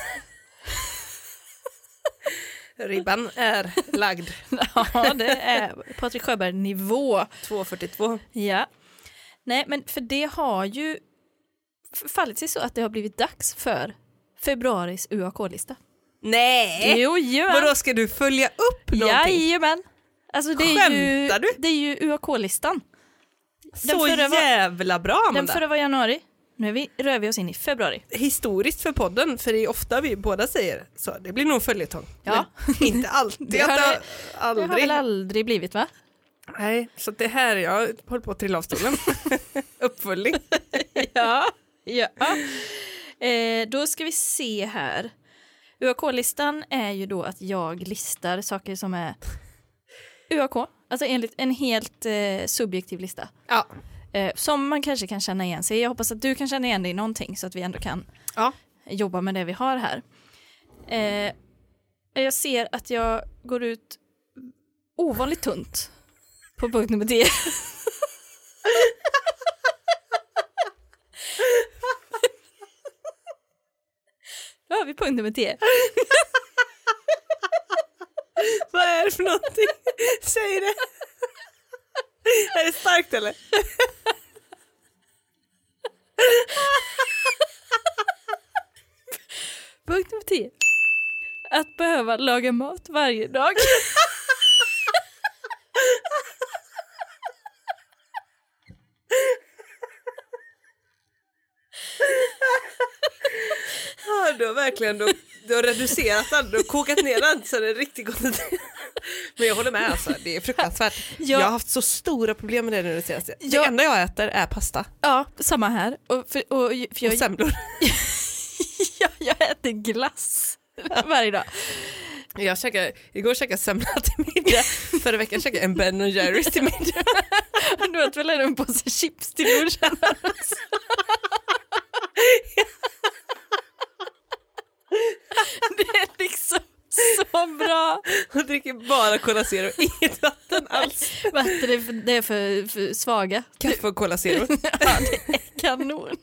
S2: Ribban är lagd.
S1: <laughs> ja, det är Patrik Sjöberg-nivå.
S2: 2.42.
S1: Ja. Nej, men för det har ju f- fallit sig så att det har blivit dags för februaris UAK-lista.
S2: Nej!
S1: Jo, jajamän.
S2: Vadå, ska du följa upp någonting?
S1: Jajamän. Alltså det är ju,
S2: Skämtar du?
S1: det är ju UAK-listan. den
S2: Så
S1: förra var-
S2: jävla bra
S1: Den
S2: Amanda!
S1: förra var januari. Nu är vi, rör vi oss in i februari.
S2: Historiskt för podden, för det är ofta vi båda säger så, det blir nog följetong.
S1: Ja.
S2: Men inte <laughs> alltid.
S1: Det har
S2: att
S1: det- Det har
S2: aldrig.
S1: väl aldrig blivit va?
S2: Nej, så det här, jag håller på att trilla av stolen. <laughs> Uppföljning.
S1: <laughs> Ja. ja. Eh, då ska vi se här. UAK-listan är ju då att jag listar saker som är UAK, alltså enligt en helt eh, subjektiv lista.
S2: Ja.
S1: Eh, som man kanske kan känna igen sig i. Jag hoppas att du kan känna igen dig i någonting så att vi ändå kan
S2: ja.
S1: jobba med det vi har här. Eh, jag ser att jag går ut ovanligt tunt på punkt nummer 10. <laughs> Då har vi punkt nummer 10.
S2: Vad är det för någonting? <laughs> Säg det. <laughs> Är det starkt eller?
S1: Punkt nummer 10. Att behöva laga mat varje dag.
S2: Ja, du har verkligen du, du har reducerat den, du har kokat ner den så det är riktigt gott. <laughs> Men jag håller med alltså, det är fruktansvärt.
S1: Ja.
S2: Jag har haft så stora problem med det nu det senaste.
S1: Ja.
S2: Det enda jag äter är pasta
S1: Ja, samma här. Och för, och, för
S2: och
S1: jag, <laughs>
S2: semlor.
S1: jag, jag äter glass varje dag.
S2: Jag käkade, igår käkade jag semla
S1: <laughs>
S2: till middag, förra veckan käkade jag en Ben Jerrys till middag.
S1: Du åt väl en påse chips till lunchen? Det är liksom så bra.
S2: Och dricker bara Cola Zero, inget vatten alls.
S1: Vatten är för, det är för, för svaga.
S2: Kaffe och Cola Zero.
S1: Kanon.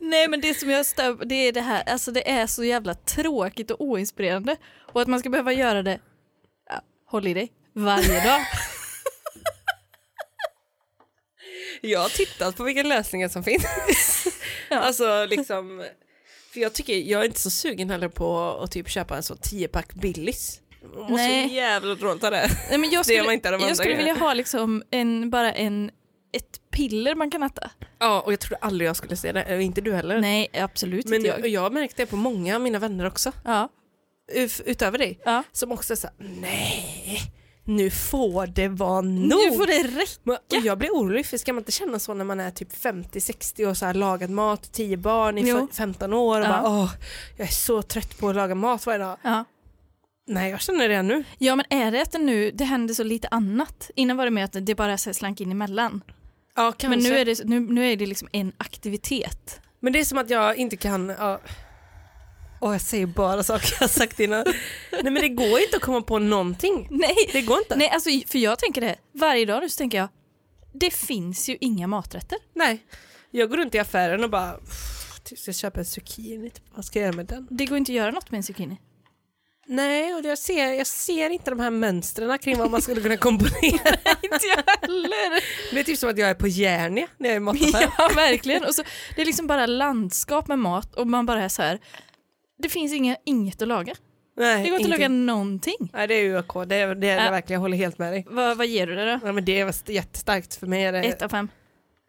S1: Nej men det som jag stör det är det här, alltså det är så jävla tråkigt och oinspirerande. Och att man ska behöva göra det, ja, håll i dig, varje dag.
S2: Jag har tittat på vilka lösningar
S1: <laughs>
S2: som finns. Alltså liksom, för jag tycker, jag är inte så sugen heller på att typ köpa en sån 10-pack Billys. Man mår
S1: Nej.
S2: så jävla dåligt av det.
S1: Nej, men jag
S2: Det gör
S1: skulle,
S2: man inte av andra
S1: jag skulle
S2: grejer.
S1: vilja ha liksom en, bara en, ett piller man kan äta.
S2: Ja, och jag trodde aldrig jag skulle se det, och inte du heller.
S1: Nej, absolut
S2: Men
S1: inte
S2: jag,
S1: Eh. jag.
S2: och jag har märkt det på många av mina vänner också,
S1: Ja,
S2: ut- utöver dig,
S1: ja.
S2: som också är såhär, nej, nu får det vara nog.
S1: Nu får det räcka.
S2: Men- Och jag blir orolig för ska man inte känna så när man är typ 50-60 och så här lagat mat, 10 barn i
S1: Jo.
S2: fe- 15 år och
S1: Ja.
S2: bara åh, jag är så trött på att laga mat varje dag.
S1: Ja.
S2: Nej jag känner det nu.
S1: ja, men är det att det nu, det händer så lite annat. Innan var det mer att det bara så här slank in emellan.
S2: Ja kanske.
S1: Men nu är, det, nu, nu är det liksom en aktivitet.
S2: Men det är som att jag inte kan... Ja. Åh, jag säger bara saker jag har sagt innan. <laughs> Nej men det går inte att komma på någonting.
S1: <laughs> Nej,
S2: Det går inte.
S1: Nej, alltså, för jag tänker det. Varje dag nu så tänker jag, det finns ju inga maträtter.
S2: Nej. Jag går runt i affären och bara... "Pff, Jag ska köpa en zucchini, typ. vad ska jag göra med den?
S1: Det går inte att göra något med en zucchini.
S2: Nej, och jag ser, jag ser inte de här mönstren kring vad man skulle kunna komponera.
S1: <laughs> inte jag heller.
S2: <laughs> Det är typ som att jag är på Järnia när jag är i mataffären.
S1: <laughs> Ja, verkligen. Och så, det är liksom bara landskap med mat och man bara är så här, det finns inga, inget att laga.
S2: Nej,
S1: Det går inte att
S2: ingenting.
S1: laga någonting.
S2: Nej, det är ju OK. Det är, det är
S1: Ja.
S2: jag verkligen, jag håller helt med dig.
S1: Vad, vad ger du det då?
S2: Ja, men det var st- jättestarkt för mig. Är det
S1: Ett av fem.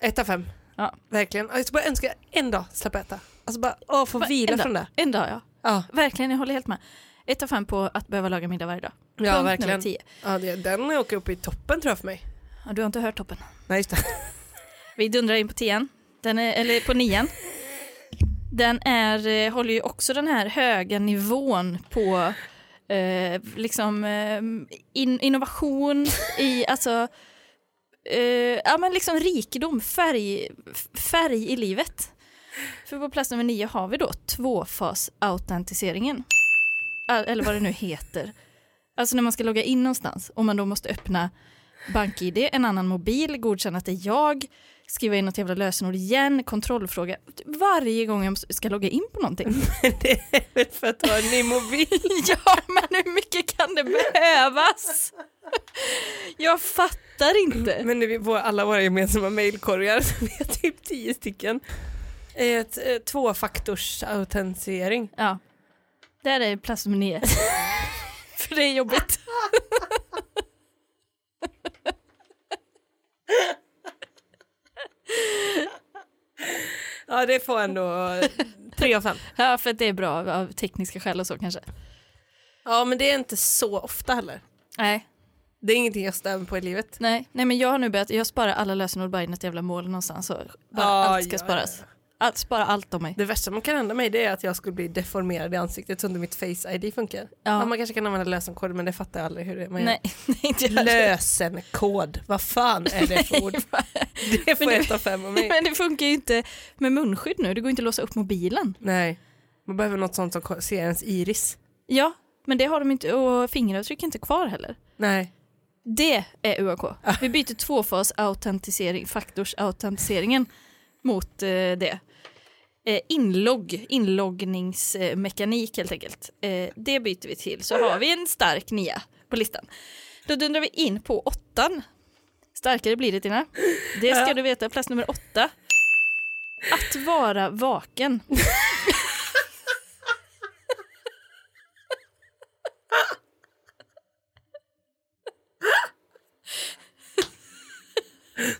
S2: ett av fem.
S1: Ja.
S2: Verkligen. Jag skulle bara önska en dag slappa äta. Alltså bara åh, få
S1: Va-
S2: vila
S1: en dag.
S2: från det.
S1: En dag ja.
S2: Ja,
S1: Verkligen, jag håller helt med. Ett av fem på att behöva laga middag varje dag.
S2: Ja,
S1: Punkt
S2: verkligen.
S1: nummer tio.
S2: ja det, den åker upp i toppen tror jag för mig.
S1: Ja, du har inte hört toppen.
S2: Nej, just det.
S1: Vi dundrar in på tian. Den är, eller på nian. Den är, eh, håller ju också den här höga nivån på eh, liksom eh, in, innovation i, alltså, eh, ja men liksom rikedom, färg, f- färg i livet. För på plats nummer nio har vi då tvåfasautentiseringen. Al- Eller vad det nu heter. Alltså när man ska logga in någonstans och man då måste öppna BankID, en annan mobil, godkänna att det är jag, skriva in något jävla lösenord igen, kontrollfråga. Varje gång jag måste- ska logga in på någonting. <laughs>
S2: det <laughs> är väl för att ha en ny mobil.
S1: ja, men hur mycket kan det behövas? <laughs> Jag fattar inte.
S2: Men nu, på alla våra gemensamma mejlkorgar, så <laughs> vi har typ tio stycken. Ett, eh, tvåfaktorsautentisering.
S1: Ja, där är plats nummer nio. <laughs> För det är jobbigt.
S2: Ja, det får <laughs> ändå eh, tre av fem.
S1: Ja, för att det är bra av- av tekniska skäl och så kanske.
S2: Ja, men det är inte så ofta heller.
S1: Nej,
S2: Det är ingenting jag stämmer på i livet.
S1: nej, nej men jag har nu börjat, jag sparar alla lösenord bara i något jävla mål någonstans. Och bara
S2: Ah,
S1: allt ska
S2: ja,
S1: sparas. Allt, spara allt om mig.
S2: Det värsta som kan hända mig det är att jag skulle bli deformerad i ansiktet så att inte mitt face-id funkar. Ja. man kanske kan använda lösenkod men det fattar jag aldrig hur det är man
S1: Nej, <laughs> nej inte jag
S2: gör.
S1: heller. <laughs>
S2: Lösenkod, vad fan är det för <laughs> ord? Det får
S1: Men
S2: ett av fem av <laughs>
S1: <laughs>
S2: mig.
S1: Men det funkar ju inte med munskydd nu, det går inte att låsa upp mobilen.
S2: Nej, man behöver något sånt som ko- ser ens iris.
S1: Ja, men det har de inte och fingeravtryck är inte kvar heller. Ah.
S2: Nej,
S1: Det är UAK. Vi byter tvåfas autentisering, faktorsautentiseringen mot eh, det. Eh, inlogg, inloggningsmekanik helt enkelt. Eh, det byter vi till så har vi en stark nia på listan. Då dundrar vi in på åttan. Starkare blir det Tina. Det ska
S2: Ja.
S1: du veta, plats nummer åtta. Att vara vaken.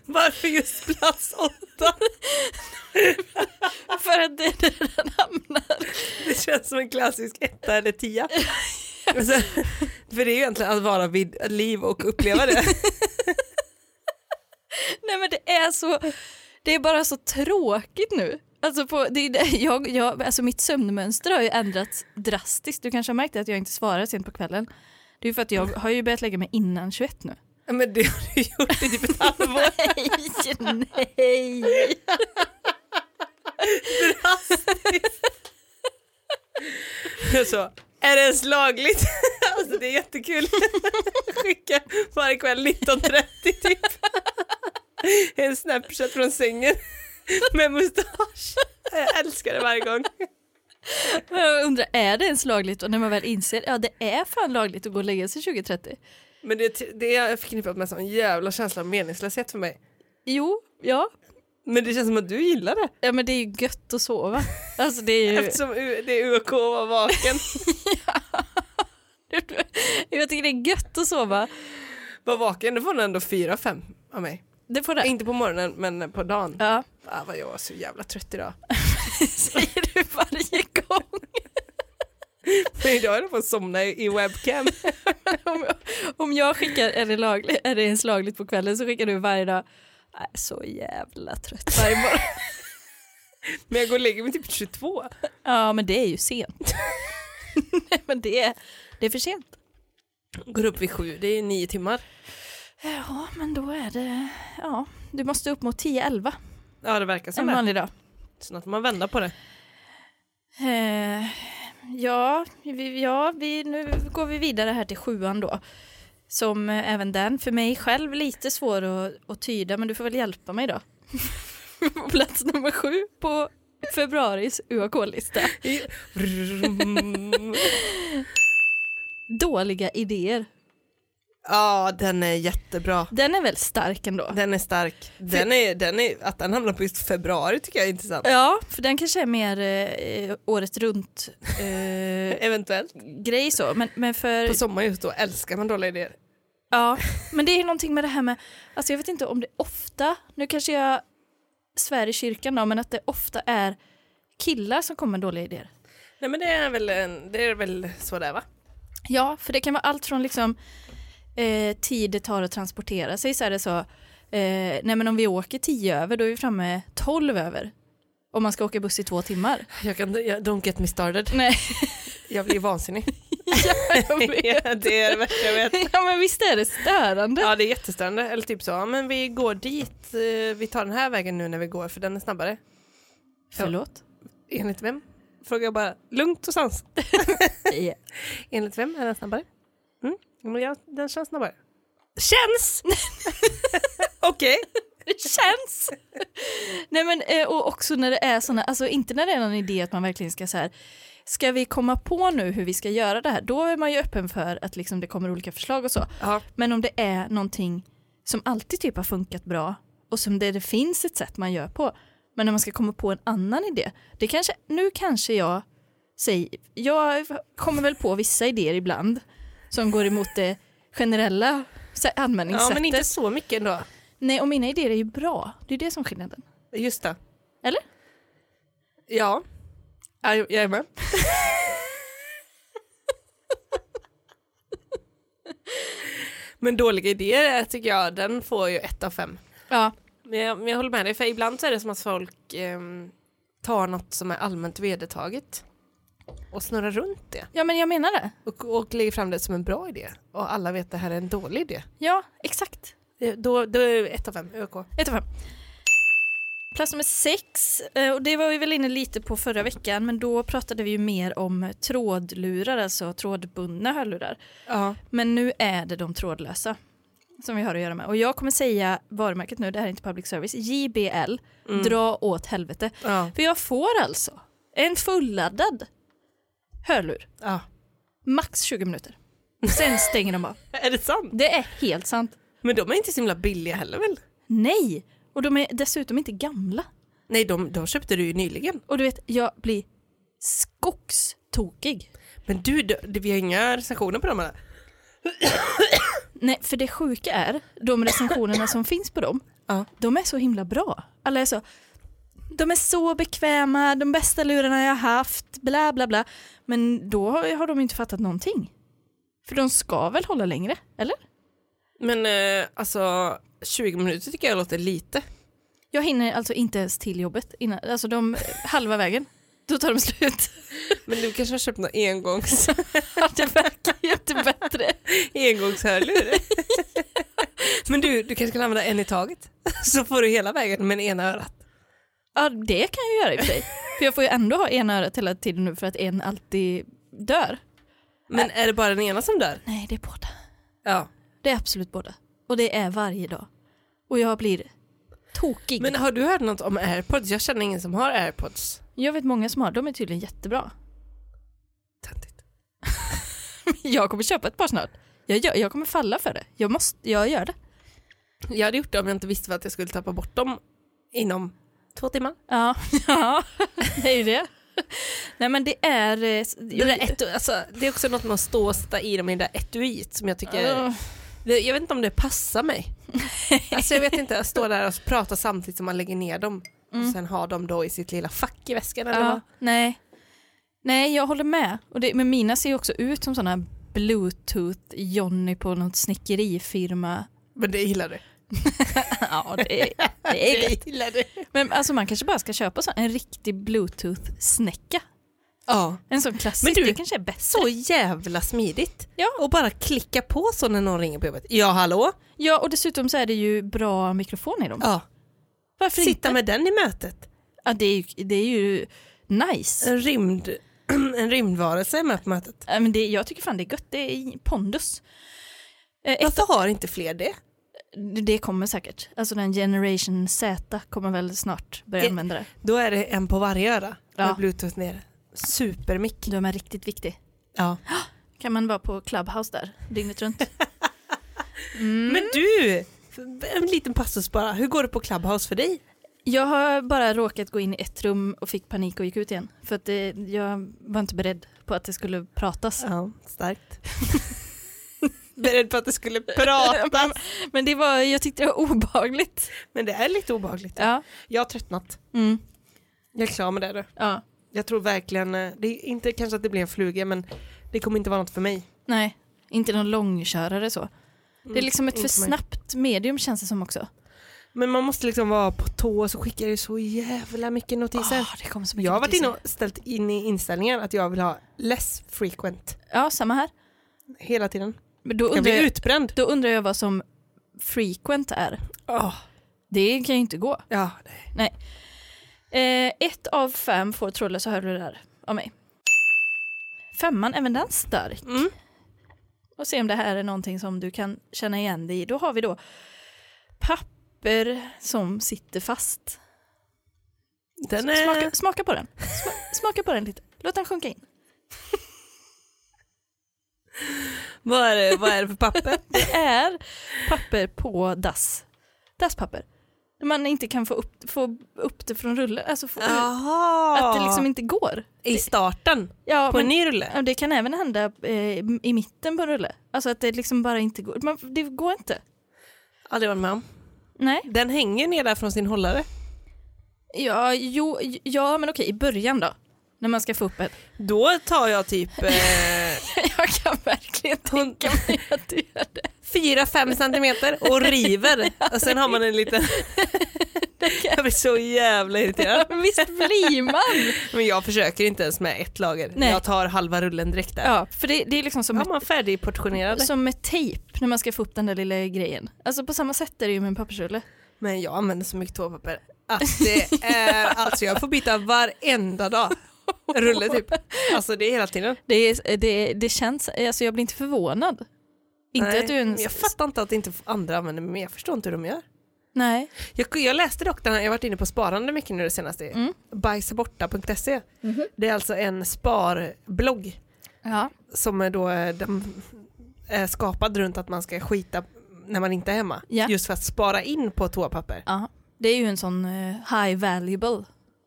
S2: varför just plats åtta?
S1: <laughs> För att det är där den hamnar.
S2: Det känns som en klassisk etta eller tia. Alltså, för det är ju egentligen att vara vid liv och uppleva det.
S1: Nej men det är så, det är bara så tråkigt nu. Alltså på, det är, <laughs> det- jag, jag, alltså mitt sömnmönster har ju ändrats drastiskt. Du kanske har märkt att jag inte svarar sent på kvällen. Det är ju för att jag har ju börjat lägga mig innan 21 nu.
S2: Ja, <laughs> Men det har du gjort i typ ett halvår.
S1: Nej, nej.
S2: Så, är det ens lagligt? Alltså det är jättekul. Skicka varje kväll 19.30 typ. En snapchat från sängen med mustasch. Jag älskar det varje gång.
S1: Men jag undrar, är det ens lagligt? Och när man väl inser, ja det är fan lagligt att gå och lägga sig 20.30.
S2: Men det, det är förknippat med en sån jävla känsla av meningslöshet för mig.
S1: Jo, ja.
S2: Men det känns som att du gillar det.
S1: Ja men det är ju gött att sova. Alltså det är ju...
S2: Eftersom U- det är UK var vaken.
S1: <laughs> Jag tycker det är gött att sova.
S2: <laughs> Var vaken, då får den ändå 4-5 av mig.
S1: Det får det.
S2: Inte på morgonen men på dagen.
S1: Ja.
S2: Ah, vad jag var så jävla trött idag.
S1: säger du varje gång.
S2: Men idag är det på att somna i i webcam.
S1: Om jag, om jag skickar, är det, lagligt, är det ens lagligt på kvällen så skickar du varje dag, jag är så jävla trött varje
S2: <laughs>
S1: morgon.
S2: Men jag går och lägger mig typ 22.
S1: Ja men det är ju sent. <laughs> Nej men det är, det är för sent.
S2: Går upp vid sju, det är nio timmar.
S1: Ja men då är det, ja du måste upp mot 10-11
S2: Ja det verkar som
S1: en
S2: det.
S1: vanlig dag.
S2: Snart får man vända på det. <laughs>
S1: Eh, ja, vi, ja vi, nu går vi vidare här till sjuan då. Som eh, även den, för mig själv, lite svår att, att tyda, men du får väl hjälpa mig då. <laughs> på plats nummer sju på februaris UAK-lista. Dåliga idéer.
S2: Ja, den är jättebra.
S1: Den är väl stark ändå?
S2: Den är stark. Den är, den är, att den hamnar på just februari tycker jag är <laughs> intressant.
S1: Ja, för den kanske är mer eh, året runt eh,
S2: Eventuellt.
S1: grej så. Men, men för...
S2: På sommaren just då älskar man dåliga idéer.
S1: <laughs> Ja, men det är någonting med det här med, alltså jag vet inte om det ofta, nu kanske jag svär i kyrkan då, men att det ofta är killar som kommer med dåliga idéer.
S2: Nej men det är väl, en- det är väl så där va?
S1: Ja, för det kan vara allt från liksom eh, tid det tar att transportera sig, så är det så, eh, nej men om vi åker tio över, då är vi framme tolv över. Om man ska åka buss i två timmar.
S2: Jag kan, jag, don't get me started.
S1: Nej,
S2: Jag
S1: <laughs>
S2: blir vansinnig. <laughs>
S1: jag vet.
S2: det är det värsta jag vet.
S1: <laughs> Ja men visst är det störande?
S2: Ja det är jättestörande. Eller typ så, ja, men vi går dit, eh, vi tar den här vägen nu när vi går för den är snabbare.
S1: Förlåt?
S2: Enligt vem? Frågar jag bara lugnt och sans.
S1: Ja.
S2: Enligt vem är den snabbare? Mm? Ja, men jag, den känns snabbare. Känns! Okej.
S1: <laughs> Det känns. Nej men eh, och också när det är såna, alltså inte när det är någon idé att man verkligen ska så här, ska vi komma på nu hur vi ska göra det här? Då är man ju öppen för att liksom det kommer olika förslag och så.
S2: Ja.
S1: Men om det är någonting som alltid typ har funkat bra och som det, det finns ett sätt man gör på, men när man ska komma på en annan idé, det kanske, nu kanske jag säger, jag kommer väl på vissa idéer ibland som går emot det generella sä-
S2: ja
S1: användningssättet.
S2: men inte så mycket ändå.
S1: Nej, och mina idéer är ju bra. Det är det som är skillnaden.
S2: Just det.
S1: Eller?
S2: Ja. Ja, Jag jag är med. <laughs> Men dåliga idéer tycker jag, den får ju ett av fem.
S1: Ja.
S2: Men jag, men jag håller med dig, för ibland så är det som att folk ehm, tar något som är allmänt vedertaget och snurrar runt det
S1: ja, men jag menar det.
S2: och, och lägger fram det som en bra idé och alla vet att det här är en dålig idé.
S1: Ja, exakt.
S2: Eh, Då, då är det ett av fem, ÖK.
S1: Ett av fem. Plats nummer sex, eh, och det var vi väl inne lite på förra veckan, men då pratade vi ju mer om trådlurar, alltså trådbundna hörlurar.
S2: Ja.
S1: Men nu är det de trådlösa som vi har att göra med. Och jag kommer säga varumärket nu, det här är inte public service, JBL, dra åt helvete.
S2: Ja.
S1: För jag får alltså en fulladdad hörlur,
S2: ja.
S1: max 20 minuter. Sen stänger de av.
S2: Är det sant?
S1: Det är helt sant.
S2: Men de är inte så himla billiga heller väl?
S1: Nej! Och de är dessutom inte gamla.
S2: Nej, de, de köpte du ju nyligen.
S1: Och du vet, jag blir skogstokig.
S2: Men du, d- d- vi har inga recensioner på dem här.
S1: Nej, för det sjuka är, de recensionerna som finns på dem,
S2: Ja.
S1: de är så himla bra. Alla är så, de är så bekväma, de bästa lurarna jag har haft, bla bla bla. Men då har har de inte fattat någonting. För de ska väl hålla längre, eller?
S2: Men eh, alltså, 20 minuter tycker jag låter lite.
S1: Jag hinner alltså inte ens till jobbet innan, alltså de, halva vägen, då tar de slut. <laughs>
S2: Men du kanske har köpt någon engångs,
S1: Det verkar ju inte bättre.
S2: <laughs> engångshörlur? <laughs> Men du, du kanske kan använda en i taget? Så får du hela vägen med ena örat.
S1: Ja, det kan jag göra i och för <laughs> sig. För jag får ju ändå ha ena örat hela tiden nu för att en alltid dör.
S2: Men är det bara den ena som dör?
S1: Nej, det är båda.
S2: Ja.
S1: Det är absolut båda. Och det är varje dag. Och jag blir tokig.
S2: Men har du hört något om airpods? Jag känner ingen som har airpods.
S1: Jag vet många som har, de är tydligen jättebra. <laughs>
S2: Töntigt.
S1: Jag kommer köpa ett par snart. Jag, gör, jag kommer falla för det. Jag, måste, jag gör det.
S2: Jag hade gjort det om jag inte visste att jag skulle tappa bort dem inom två timmar.
S1: Ja, <laughs> ja. det är ju det. Nej men det är... eh, s-
S2: Det där etu, alltså, det är också något med att stå och sätta i dem i det där etuiet som jag tycker...
S1: Ugh.
S2: Det, jag vet inte om det
S1: <laughs>
S2: passar mig. alltså jag vet inte, att stå där och prata samtidigt som man lägger ner dem. Och sen har de då i sitt lilla fack i väskan eller vad?
S1: Mm. Ja, nej. Nej, jag håller med. Och det, men mina ser ju också ut som sådana bluetooth-Johnny på något snickerifirma. <laughs>
S2: Men det gillar du.
S1: Ja, det är, det är gött.
S2: gillar du.
S1: Men alltså man kanske bara ska köpa sån, en riktig bluetooth-snäcka.
S2: Ja.
S1: En sån klassisk,
S2: Men du-
S1: det kanske är bäst.
S2: Så jävla smidigt.
S1: Ja.
S2: Och bara klicka på så när någon ringer på jobbet. Ja, hallå?
S1: Ja, och dessutom så är det ju bra mikrofon i dem.
S2: Ja.
S1: Varför
S2: Sitta
S1: inte?
S2: med den i mötet.
S1: Ja, det, är, ju- det är ju nice.
S2: En, rymd, <clears throat> en rymdvarelse med på mötet.
S1: Ja, men det, jag tycker fan det är gött, det är pondus. Eh, ett,
S2: Varför har inte fler det?
S1: det kommer säkert. Alltså den generation Z kommer väl snart börja
S2: Det-
S1: använda det.
S2: Då är det en på varje öra med
S1: Ja.
S2: bluetooth ner. Supermick.
S1: De är riktigt viktig.
S2: Ja.
S1: Kan man vara på Clubhouse där dygnet runt?
S2: Men du, en liten passus bara. Hur går det på Clubhouse för dig?
S1: <laughs> Jag har bara råkat gå in i ett rum och fick panik och gick ut igen. För att det, jag var inte beredd på att det skulle pratas.
S2: Ja, <laughs> starkt. Beredd på att det skulle prata.
S1: Men det var, jag tyckte det var <laughs> obehagligt.
S2: <laughs> Men det är lite obehagligt.
S1: Ja.
S2: Jag har tröttnat.
S1: Mm.
S2: Jag är klar med det. du.
S1: ja.
S2: Jag tror verkligen, eh, det är inte kanske att det blir en fluga men det kommer inte vara något för mig.
S1: Nej, inte någon långkörare så. Det är liksom ett för
S2: inte mig.
S1: snabbt medium känns det som också.
S2: Men man måste liksom vara på tå och så skickar det så jävla mycket notiser.
S1: Åh, Ah, det kom så mycket
S2: jag har varit
S1: notiser.
S2: inne och ställt in i inställningar att jag vill ha less frequent
S1: Ja, samma här.
S2: hela tiden.
S1: Men då,
S2: Jag
S1: undrar
S2: blir
S1: jag,
S2: utbränd.
S1: då undrar jag vad som frequent är.
S2: Åh,
S1: Det kan ju inte gå.
S2: ja, nej.
S1: Eh, ett av fem får trådlösa hörlurar av mig. Femman, även den stark.
S2: Mm.
S1: Och se om det här är någonting som du kan känna igen dig i. Då har vi då papper som sitter fast.
S2: Den är...
S1: Smaka, smaka på den. Sma, smaka på den lite. Låt den sjunka in.
S2: Vad, är det, vad är det för papper?
S1: Det är papper på dass. Dasspapper. När Man inte kan få upp, få upp det från rullen. Alltså få,
S2: <laughs> Ah. Jaha!
S1: att det liksom inte går.
S2: I starten
S1: Ja,
S2: på en
S1: men-
S2: ny rulle?
S1: Ja, det kan även hända eh, i mitten på en rulle. Alltså att det liksom bara inte går. Man, det går inte.
S2: Aldrig varit med om.
S1: Nej.
S2: Den hänger ner där från sin hållare.
S1: Ja, jo, ja men okej, i början då. När man ska få upp en.
S2: Då tar jag typ
S1: <laughs> Jag kan verkligen
S2: hund-
S1: tänka mig att du gör det.
S2: 4-5 centimeter och river. Och sen har man en liten... Jag blir så jävla irriterad.
S1: Men visst blir
S2: <laughs>
S1: man?
S2: Men jag försöker inte ens med ett lager.
S1: Nej.
S2: Jag tar halva rullen direkt där.
S1: Ja, för det, det är liksom som,
S2: Har man färdigportionerad?
S1: med, som med tejp när man ska få upp den där lilla grejen. Alltså på samma sätt är det ju med en pappersrulle.
S2: Men jag använder så mycket toapapper att det är... Alltså jag får byta varenda dag. Rulle typ. Alltså det är hela tiden.
S1: Det, är, det, det känns, alltså jag blir inte förvånad. Inte
S2: Nej,
S1: att du
S2: men
S1: ens...
S2: Jag fattar inte att inte andra använder mig, men jag förstår inte hur de gör.
S1: Nej.
S2: Jag, jag läste dock den här, jag har varit inne på sparande mycket nu det senaste, bajsaborta.se. Det är alltså en sparblogg
S1: Ja.
S2: som är då eh, den är skapad runt att man ska skita när man inte är hemma.
S1: Ja.
S2: Just för att spara in på toapapper.
S1: ja. Det är ju en sån eh, high valuable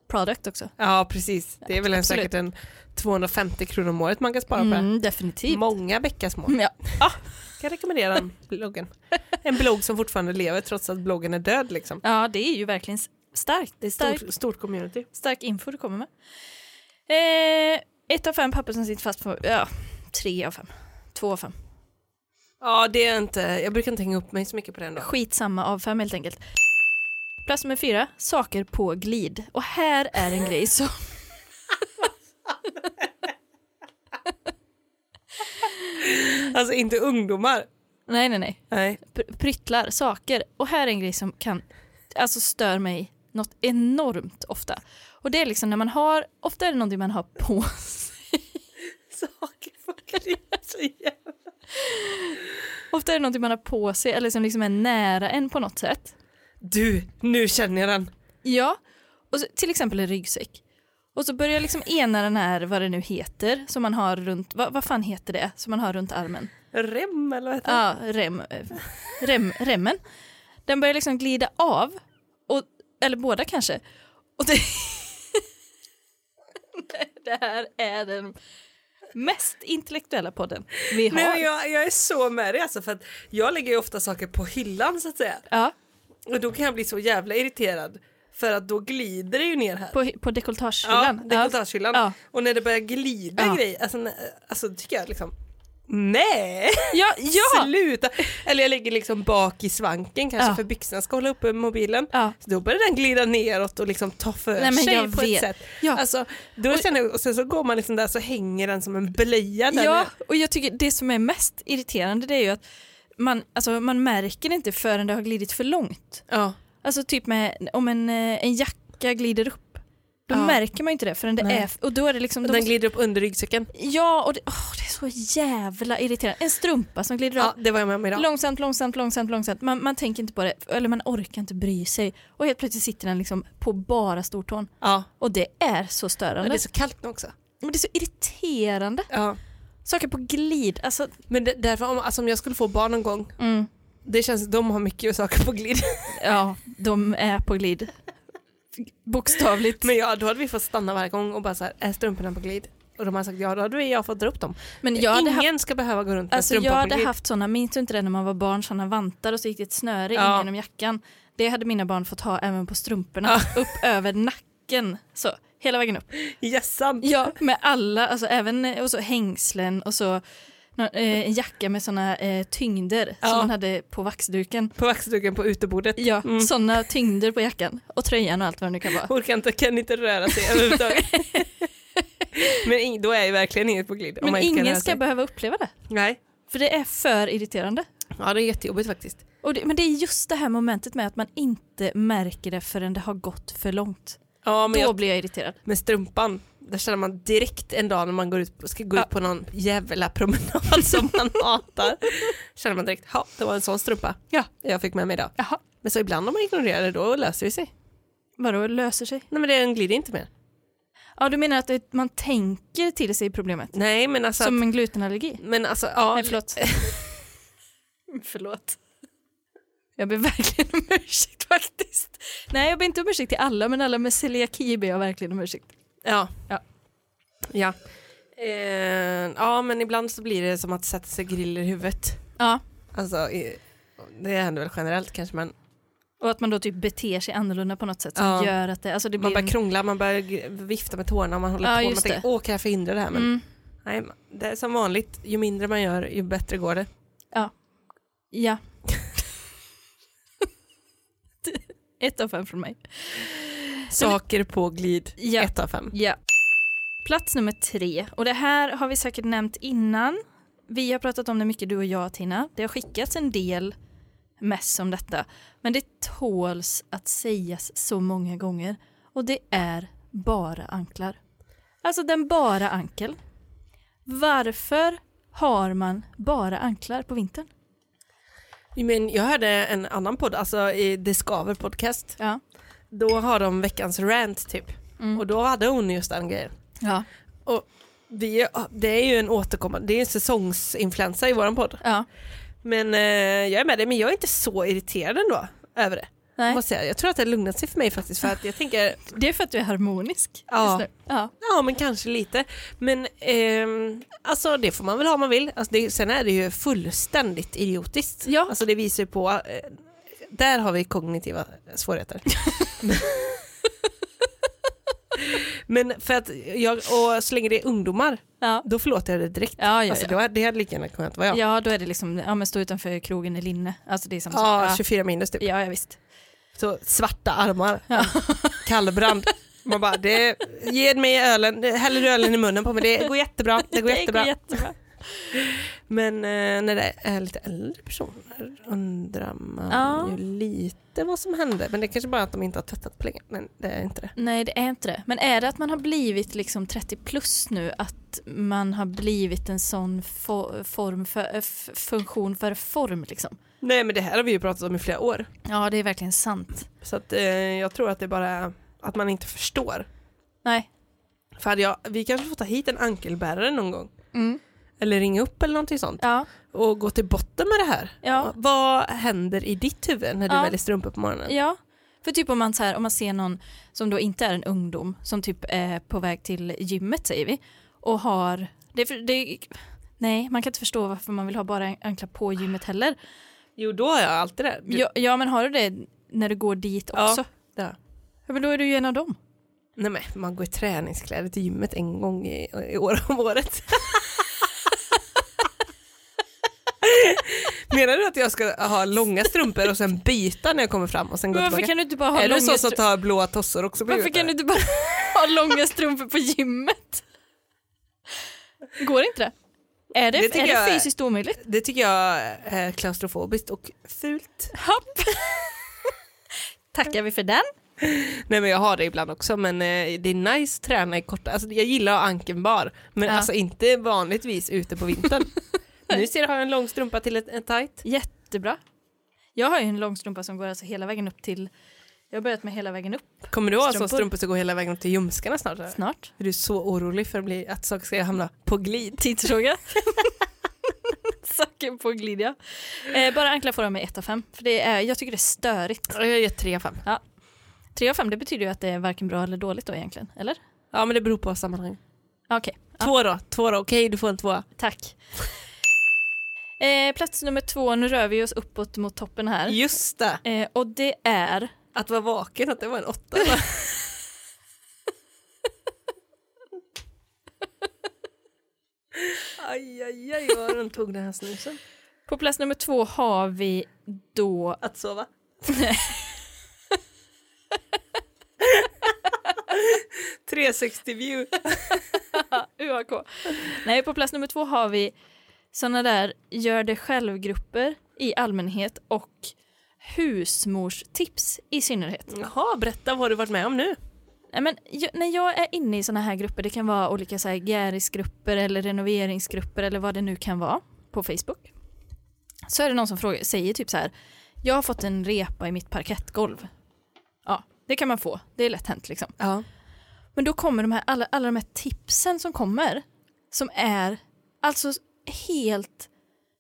S1: product också.
S2: Ja precis, det är väl en,
S1: Absolut.
S2: säkert en 250 kronor om året man kan spara på
S1: Mm,
S2: det.
S1: definitivt.
S2: Många bäckar små.
S1: <laughs> Ja.
S2: Kan rekommendera den bloggen. En blogg som fortfarande lever trots att bloggen är död liksom.
S1: ja, det är ju verkligen s- starkt. Det är starkt.
S2: Stort, stort community.
S1: Stark info du kommer med. Eh, ett av fem papper som sitter fast på... Ja, tre av fem. Två av fem.
S2: Ja det är inte, jag brukar inte hänga upp mig så mycket på den då.
S1: Skitsamma av fem helt enkelt. Plats nummer fyra, saker på glid. Och här är en grej som...
S2: <laughs>
S1: <laughs>
S2: Alltså inte ungdomar.
S1: Nej, nej, nej.
S2: Nej.
S1: Pr- pryttlar, saker. Och här är en grej som kan... Alltså stör mig något enormt ofta. Och det är liksom när man har... Ofta är det någonting man har på <laughs> sig.
S2: Saker funkar så jävla...
S1: Ofta är det någonting man har på sig eller som liksom är nära en på något sätt.
S2: Du, nu känner jag den.
S1: Ja, och så, till exempel en ryggsäck. Och så börjar liksom ena den här, vad det nu heter, som man har runt, vad, vad fan heter det, som man har runt armen?
S2: Rem eller vad heter det?
S1: Ja, rem, eh, rem, remmen. Den börjar liksom glida av, och, eller båda kanske. Och det, <laughs> det här är den mest intellektuella podden vi har.
S2: Nej, men jag, jag är så med dig alltså för att jag lägger ju ofta saker på hyllan så att säga.
S1: Ja,
S2: Och då kan jag bli så jävla irriterad. För att då glider det ju ner här.
S1: på, på dekolletagehyllan.
S2: Ja, dekolletagehyllan.
S1: Ja.
S2: Och när det börjar glida
S1: Ja.
S2: grejer, alltså, när- alltså tycker jag liksom Nej! <laughs>
S1: Ja, ja.
S2: Sluta! Eller jag lägger liksom bak i svanken kanske
S1: Ja.
S2: för byxorna ska hålla uppe mobilen.
S1: Ja.
S2: Så då börjar den glida neråt och liksom ta för
S1: Nej, men
S2: sig
S1: jag
S2: på
S1: vet.
S2: ett sätt.
S1: Ja.
S2: Alltså, då känner jag, och sen så går man liksom där så hänger den som en blöja där
S1: Ja,
S2: nere.
S1: och jag tycker det som är mest irriterande det är ju att man, alltså, man märker det inte förrän det har glidit för långt.
S2: Ja.
S1: Alltså typ med, om en, eh, en jacka glider upp Då
S2: Ja.
S1: märker man ju inte det förrän det
S2: Nej.
S1: är... Och då är det liksom...
S2: Och
S1: Då
S2: den
S1: måste,
S2: glider upp under ryggsäcken.
S1: ja, och det, åh, det är så jävla irriterande. En strumpa som glider av.
S2: Ja, det var jag med om idag.
S1: Långsamt, långsamt, långsamt, långsamt. Man, man tänker inte på det, eller man orkar inte bry sig. Och helt plötsligt sitter den liksom på bara stortån.
S2: Ja.
S1: Och det är så störande.
S2: Men det är så kallt nu också.
S1: Men det är så irriterande.
S2: Ja.
S1: Saker på glid. Alltså,
S2: Men det, därför, om, alltså, om jag skulle få barn någon gång,
S1: mm,
S2: det känns de har mycket saker
S1: <laughs>
S2: på glid.
S1: ja, de är på glid. Bokstavligt.
S2: Men ja, då hade vi fått stanna varje gång och bara så här, är strumporna på glid? Och de har sagt ja, då hade vi- jag fått dra upp dem.
S1: Men jag hade, haft,
S2: Ingen ska behöva gå runt med
S1: alltså,
S2: strumpan
S1: jag
S2: på glid.
S1: hade haft sådana, minns du inte det när man var barn, sådana vantar och så gick det ett snöre in
S2: Ja.
S1: genom jackan. Det hade mina barn fått ha även på strumporna, <laughs> upp över nacken. Så, hela vägen upp.
S2: Yes, sant.
S1: Ja, med alla, alltså även eh, och så hängslen och så nå- eh, en jacka med sådana eh, tyngder
S2: Ja.
S1: som man hade på vaxduken.
S2: På vaxduken på utebordet.
S1: Ja,
S2: Mm.
S1: sådana tyngder på jackan och tröjan och allt vad det nu kan vara.
S2: Orkar inte, kan inte röra sig
S1: <laughs>
S2: överhuvudtaget. Men ing, då är ju verkligen inget på glid. om
S1: Men
S2: man inte kan röra
S1: ingen ska
S2: sig.
S1: behöva uppleva det,
S2: Nej.
S1: för det är för irriterande.
S2: Ja, det är jättejobbigt faktiskt.
S1: Och det, men det är just det här momentet med att man inte märker det förrän det har gått för långt.
S2: Ja,
S1: Då
S2: men jag,
S1: blir jag irriterad.
S2: med strumpan, där känner man direkt en dag när man går ut, ska gå ut
S1: Ja.
S2: på någon jävla promenad som
S1: <laughs>
S2: man hatar. Känner man direkt, ja, det var en sån strumpa. Ja, jag fick med mig idag.
S1: Jaha.
S2: Men så ibland om man ignorerar det, då löser det sig.
S1: Vadå, löser sig?
S2: Nej, men den glider inte mer.
S1: Ja, du menar att det, man tänker till sig problemet?
S2: Nej, men alltså...
S1: Som en glutenallergi?
S2: men alltså, ja.
S1: Nej,
S2: <laughs>
S1: förlåt. förlåt. Jag ber verkligen om ursäkt faktiskt. Nej, jag ber inte om ursäkt till alla, men alla med celiaki ber jag verkligen om ursäkt.
S2: Ja.
S1: Ja.
S2: Ja. Eh, ja, men ibland så blir det som att sätta sig griller i huvudet.
S1: Ja,
S2: Alltså, i, det händer väl generellt kanske, men
S1: och att man då typ beter sig annorlunda på något sätt som
S2: Ja.
S1: gör att det, alltså det
S2: man
S1: blir
S2: börjar
S1: en...
S2: krångla, man börjar g- vifta med tårna, man håller
S1: Ja,
S2: på, man
S1: just
S2: tänker
S1: det.
S2: åh kan jag förhindra det här? Men
S1: Mm,
S2: nej, ma- det är som vanligt, ju mindre man gör ju bättre går det. <laughs>
S1: ja. Ett av fem från mig.
S2: Saker på glid,
S1: Ja.
S2: ett av fem.
S1: Ja. Plats nummer tre. Och det här har vi säkert nämnt innan. Vi har pratat om det mycket du och jag Tina. Det har skickats en del mess om detta. Men det tåls att sägas så många gånger. Och det är bara anklar. Alltså den bara ankeln. Varför har man bara anklar på vintern?
S2: Men jag hörde en annan podd, alltså i Det Skaver podcast,
S1: Ja.
S2: då har de veckans rant typ.
S1: Mm.
S2: Och då hade hon just den grejen.
S1: Ja.
S2: Vi, ah, det är ju en återkommande, det är en säsongsinfluensa i våran podd.
S1: ja.
S2: Men eh, jag är med dig, men jag är inte så irriterad ändå över det.
S1: Nej.
S2: Måste jag, säga. jag tror att det har lugnat sig för mig faktiskt, för att jag tänker,
S1: Det är för att du är harmonisk.
S2: Ja.
S1: just nu. ja.
S2: ja men kanske lite. Men ehm, alltså det får man väl ha om man vill. Alltså, det, sen är det ju fullständigt idiotiskt.
S1: Ja.
S2: Alltså det visar ju på, eh, där har vi kognitiva svårigheter. <laughs> men för att jag, och så länge det är ungdomar,
S1: Ja.
S2: då förlåter jag det direkt.
S1: Ja, ja,
S2: Alltså,
S1: ja.
S2: det, var, det hade lika gärna kunnat vara jag.
S1: Ja, då är det liksom, ja men stå utanför krogen i linne. Alltså det är samma
S2: Ja,
S1: sak.
S2: 24 minus typ.
S1: Ja, ja, visst.
S2: Så svarta armar, kallbrand. Man bara, det, ge mig ölen, häller du ölen i munnen på mig, det går jättebra. Det går jättebra.
S1: jättebra.
S2: Men eh, när det är lite äldre personer undrar man
S1: Ja.
S2: ju lite vad som hände. Men det är kanske bara att de inte har tvättat på länge, men det är inte det.
S1: Nej, det är inte det. Men är det att man har blivit liksom 30 plus nu, att man har blivit en sån fo- form för, eh, f- funktion för form liksom?
S2: Nej men det här har vi ju pratat om i flera år.
S1: Ja, det är verkligen sant.
S2: Så att, eh, jag tror att det är bara att man inte förstår.
S1: Nej.
S2: För hade jag, vi kanske får ta hit en ankelbärare någon gång.
S1: Mm.
S2: Eller ringa upp eller någonting sånt.
S1: Ja,
S2: och gå till botten med det här.
S1: Ja.
S2: Vad händer i ditt huvud när du
S1: Ja.
S2: väljer strumpor på morgonen?
S1: ja. För typ om man, så här, om man ser någon som då inte är en ungdom, som typ är på väg till gymmet säger vi, och har, det, är för- det, nej man kan inte förstå varför man vill ha bara anklar på gymmet heller.
S2: Jo, då är jag alltid det. Du,
S1: Ja, ja men har du det när du går dit
S2: Ja.
S1: också?
S2: där.
S1: Ja, men då är du ju en av dem.
S2: Nej men man går i träningskläder till gymmet en gång i, i år om året. <laughs> Menar du att jag ska ha långa strumpor och sen byta när jag kommer fram och sen gå
S1: Men varför
S2: tillbaka?
S1: kan du inte bara ha
S2: är
S1: långa
S2: du så som
S1: stru-
S2: tar blåa tossor också på
S1: Varför
S2: huvudet?
S1: kan du inte bara <laughs> ha långa strumpor på gymmet? Går inte det? Är det,
S2: Det tycker
S1: är det
S2: jag är-
S1: fysiskt omöjligt?
S2: Det tycker jag är klaustrofobiskt och fult.
S1: Hopp. <laughs> Tackar vi för den.
S2: Nej men jag har det ibland också men eh, det är nice att träna i korta, alltså jag gillar att ha ankeln bar men
S1: Ja.
S2: alltså inte vanligtvis ute på <laughs> vintern. nu ser jag har jag en lång strumpa till ett- en tight.
S1: Jättebra. Jag har ju en långstrumpa som går alltså hela vägen upp till... Jag har börjat med hela vägen upp
S2: Kommer du ha en sån
S1: Strumpor.
S2: strumpa som går hela vägen upp till ljumskarna snart? eller?
S1: snart.
S2: Är du så orolig för att, bli, att saker ska hamna på glid? <laughs>
S1: Tidsfråga. Saker på glid, ja. Eh, bara anklar får de med 1 av 5. För det är, jag tycker det är störigt.
S2: Jag gör tre av fem.
S1: 3 av 5 det betyder ju att det är varken bra eller dåligt då egentligen, eller?
S2: Ja men det beror på sammanhang.
S1: Ah, Okej,
S2: Två då, två då, okej du får en tvåa.
S1: tack. Eh, plats nummer två, nu rör vi oss uppåt mot toppen här.
S2: Just det,
S1: Eh, och det är...
S2: att vara vaken, att det var en <laughs> åtta. aj, aj, aj vad de tog den här snusen.
S1: På plats nummer två har vi då...
S2: Att <laughs> sova. Nej. 360 view.
S1: UAK. Nej, på plats nummer två har vi såna där gör det själv-grupper i allmänhet och husmorstips i synnerhet.
S2: Jaha, berätta vad har du varit med om nu?
S1: Nej, men jag, när jag är inne i såna här grupper, det kan vara olika så här gärisgrupper eller renoveringsgrupper eller vad det nu kan vara på Facebook. Så är det någon som frågar, säger typ så här, jag har fått en repa i mitt parkettgolv. Ja, det kan man få, det är lätt hänt liksom.
S2: Ja.
S1: Men då kommer de här, alla, alla de här tipsen som kommer, som är alltså helt...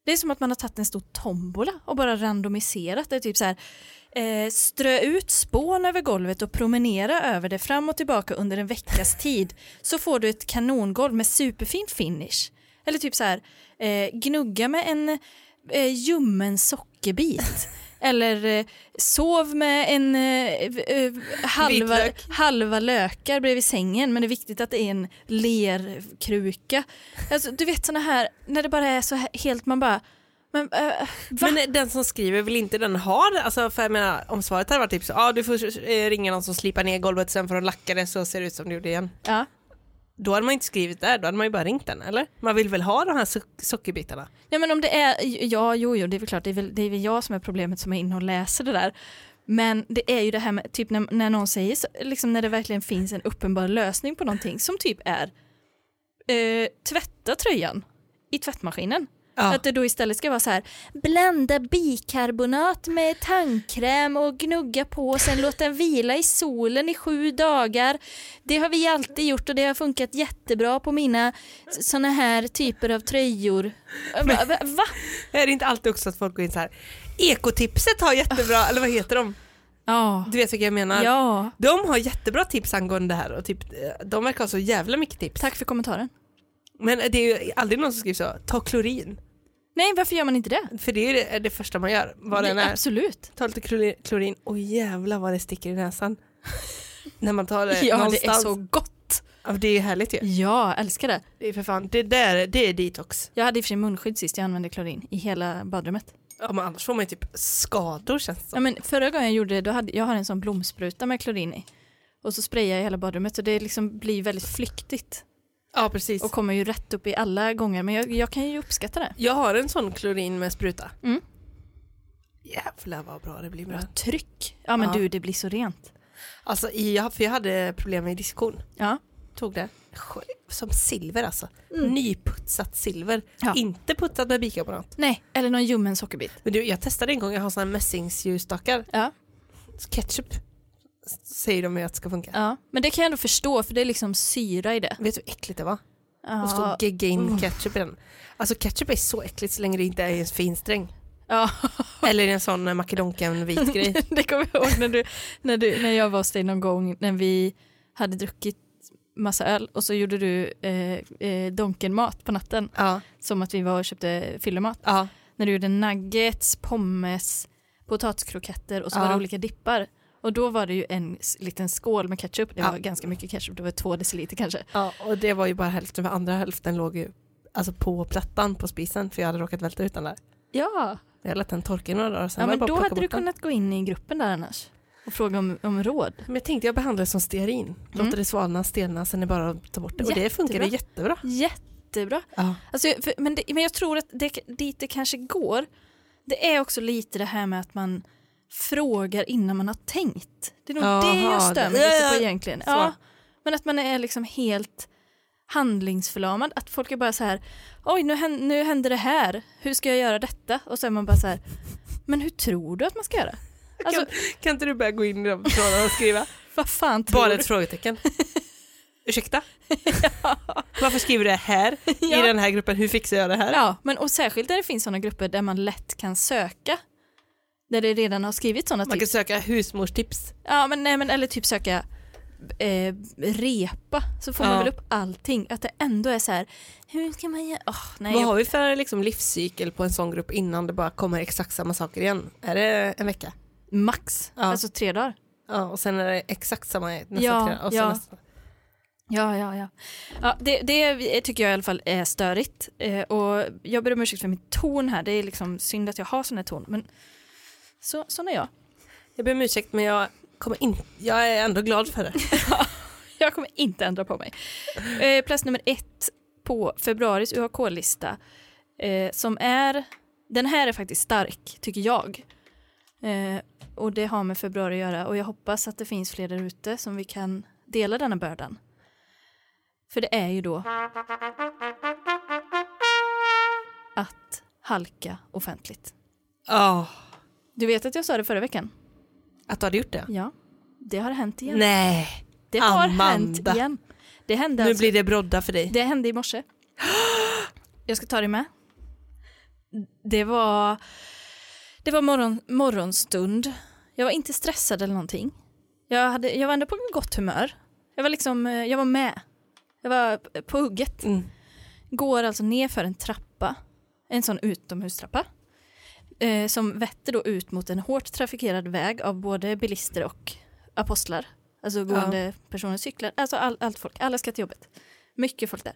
S1: Det är som att man har tagit en stor tombola och bara randomiserat. Det är typ så här, eh, strö ut spån över golvet och promenera över det fram och tillbaka under en veckas tid så får du ett kanongolv med superfin finish. Eller typ så här, eh, gnugga med en eh, ljummen sockerbit. Eller eh, sov med en eh, v- eh, halva,
S2: Vitlök.
S1: halva lökar bredvid sängen men det är viktigt att det är en lerkruka. Alltså, du vet såna här, när det bara är så här helt, man bara, men eh, va?
S2: Men eh, den som skriver vill inte den ha det? Alltså, för jag menar, om svaret hade varit typ så, ja ah, du får eh, ringa någon som slipar ner golvet sen får de lacka det så ser det ut som det gjorde igen.
S1: ja.
S2: Då hade man inte skrivit där, då hade man ju bara ringt den eller? Man vill väl ha de här so- sockerbitarna?
S1: Nej men om det är, ja jo jo det är väl klart, det är väl, det är väl jag som är problemet som är inne och läser det där. Men det är ju det här med, typ när, när någon säger, så- liksom när det verkligen finns en uppenbar lösning på någonting som typ är eh, tvätta tröjan i tvättmaskinen.
S2: Ja.
S1: Att det då istället ska vara så här, blanda bikarbonat med tandkräm och gnugga på och sen låta den vila i solen i sju dagar. Det har vi alltid gjort och det har funkat jättebra på mina sådana här typer av tröjor. Jag bara, Va? va?
S2: Är det inte alltid också att folk går in så här, ekotipset har jättebra, eller vad heter de?
S1: Ja.
S2: Du vet vilka jag menar?
S1: ja.
S2: De har jättebra tips angående det här och typ, eh, de verkar ha så jävla mycket tips.
S1: Tack för kommentaren.
S2: Men det är ju aldrig någon som skriver så, ta klorin.
S1: Nej, varför gör man inte det?
S2: För det är ju det, det första man gör, vad den
S1: Nej,
S2: är.
S1: Absolut.
S2: Ta lite klori- klorin, och jävla vad det sticker i <laughs> näsan. När man tar det
S1: Ja, det är
S2: någonstans.
S1: så gott.
S2: Ja, det är härligt ju.
S1: Ja, älskar det.
S2: Det är för fan, det där, det är detox.
S1: Jag hade i och för sig munskydd sist jag använde klorin i hela badrummet.
S2: Ja, men annars får man ju typ skador känns det
S1: Ja,
S2: som.
S1: men förra gången jag gjorde det, då hade, jag har en sån blomspruta med klorin i. Och så sprayar jag hela badrummet så det liksom blir väldigt flyktigt.
S2: Ja, precis.
S1: Och kommer ju rätt upp i alla gånger, men jag, jag kan ju uppskatta det.
S2: Jag har en sån klorin med spruta.
S1: Mm.
S2: Jävlar vad bra det blir med den.
S1: Tryck! Ja men
S2: Ja.
S1: du, det blir så rent.
S2: Alltså, i- jag, för jag hade problem med diskon.
S1: Ja.
S2: Tog det. Sj- Som silver alltså. Nyputsat silver.
S1: Mm. Ja.
S2: Inte putsat med bikarbonat.
S1: Nej, eller någon ljummen sockerbit.
S2: Men du, jag testade en gång, jag har såna här mässingsljusstakar.
S1: Ja.
S2: Ketchup s- säger de ju att ska funka.
S1: ja. Men det kan jag ändå förstå, för det är liksom syra i det.
S2: Vet du hur äckligt det var? Och stå
S1: Ja. Mm.
S2: och gegga in ketchup i den. Alltså ketchup är så äckligt så länge det inte är i en fin sträng.
S1: ja.
S2: Eller i en sån eh, makedonken
S1: <laughs>
S2: vit grej.
S1: det kommer jag ihåg när, du, när, du, när jag var hos dig någon gång när vi hade druckit massa öl och så gjorde du eh, eh, donkenmat på natten.
S2: Ja,
S1: Som att vi var och köpte fyllemat.
S2: ja.
S1: när du gjorde nuggets, pommes, potatiskroketter och så var
S2: Ja.
S1: det olika dippar. Och då var det ju en s- liten skål med ketchup. Det
S2: Ja.
S1: var ganska mycket ketchup, det var två deciliter kanske.
S2: Ja, och det var ju bara hälften, för andra hälften låg ju alltså på plattan på spisen för jag hade råkat välta ut den där.
S1: Ja,
S2: Jag lät den torka i några dagar sen
S1: ja
S2: var det
S1: men
S2: bara
S1: då
S2: att plocka
S1: hade du
S2: bort den.
S1: kunnat gå in i gruppen där annars och fråga om, om råd.
S2: Men jag tänkte jag behandlar det som stearin. Låter
S1: Mm.
S2: det svalna, stelna, sen är det bara att ta bort det. Och det
S1: Jättebra.
S2: funkade jättebra.
S1: Jättebra.
S2: Ja.
S1: Alltså, för, men, det, men jag tror att det, dit det kanske går, det är också lite det här med att man frågar innan man har tänkt. Det är nog det
S2: Jaha,
S1: jag stör mig
S2: det-
S1: lite på egentligen.
S2: Så.
S1: Ja, men att man är liksom helt handlingsförlamad. Att folk är bara så här, oj nu, hän- nu händer det här, hur ska jag göra detta? Och så är man bara så här, men hur tror du att man ska göra? Alltså,
S2: kan, kan inte du börja gå in i de trådarna och skriva?
S1: vad fan <laughs> tror
S2: Bara
S1: du? <laughs>
S2: ett frågetecken. Ursäkta? Varför skriver du det
S1: <laughs>
S2: här i den här gruppen? Hur fixar jag det här?
S1: Ja, men och särskilt där det finns sådana grupper där man lätt kan söka. Där det redan har skrivits sådana
S2: Man
S1: tips.
S2: kan söka husmorstips.
S1: Ja, men, nej, men, eller typ söka eh, repa, så får
S2: Ja.
S1: man väl upp allting. Att det ändå är så här, hur ska man göra? Åh, nej,
S2: Vad
S1: jag,
S2: har vi för liksom, livscykel på en sån grupp innan det bara kommer exakt samma saker igen? Är det en vecka?
S1: max,
S2: Ja.
S1: alltså tre dagar.
S2: Ja, och sen är det exakt samma nästa
S1: Ja,
S2: tre. Och så
S1: ja.
S2: nästa.
S1: Ja, ja, ja. ja det, det tycker jag i alla fall är störigt. Eh, och jag ber om ursäkt för min ton här, det är liksom synd att jag har sån här ton. Men så, sån är jag.
S2: Jag ber om ursäkt men jag, kommer in, jag är ändå glad
S1: <laughs>
S2: för det.
S1: Jag kommer inte ändra på mig. Eh, plats nummer ett på februaris UHK-lista eh, som är, den här är faktiskt stark tycker jag. Eh, och det har med februari att göra och jag hoppas att det finns fler där ute som vi kan dela denna bördan. För det är ju då att halka offentligt.
S2: Ja.
S1: Du vet att jag sa det förra veckan?
S2: Att du hade gjort det?
S1: Ja, det har hänt igen.
S2: Nej,
S1: det har
S2: Amanda.
S1: hänt igen. Det hände
S2: nu
S1: alltså
S2: blir det brodda för dig.
S1: Det hände i morse. <gasps> Jag ska ta dig med. Det var, det var morgon, morgonstund. Jag var inte stressad eller någonting. Jag, hade, jag var ändå på gott humör. Jag var liksom, eh, jag var med. Jag var p- på hugget.
S2: Mm.
S1: Går alltså ner för en trappa. En sån utomhustrappa. Eh, som vetter då ut mot en hårt trafikerad väg av både bilister och apostlar. Alltså gående personer, cyklar, alltså all, allt folk. Alla ska till jobbet. Mycket folk där.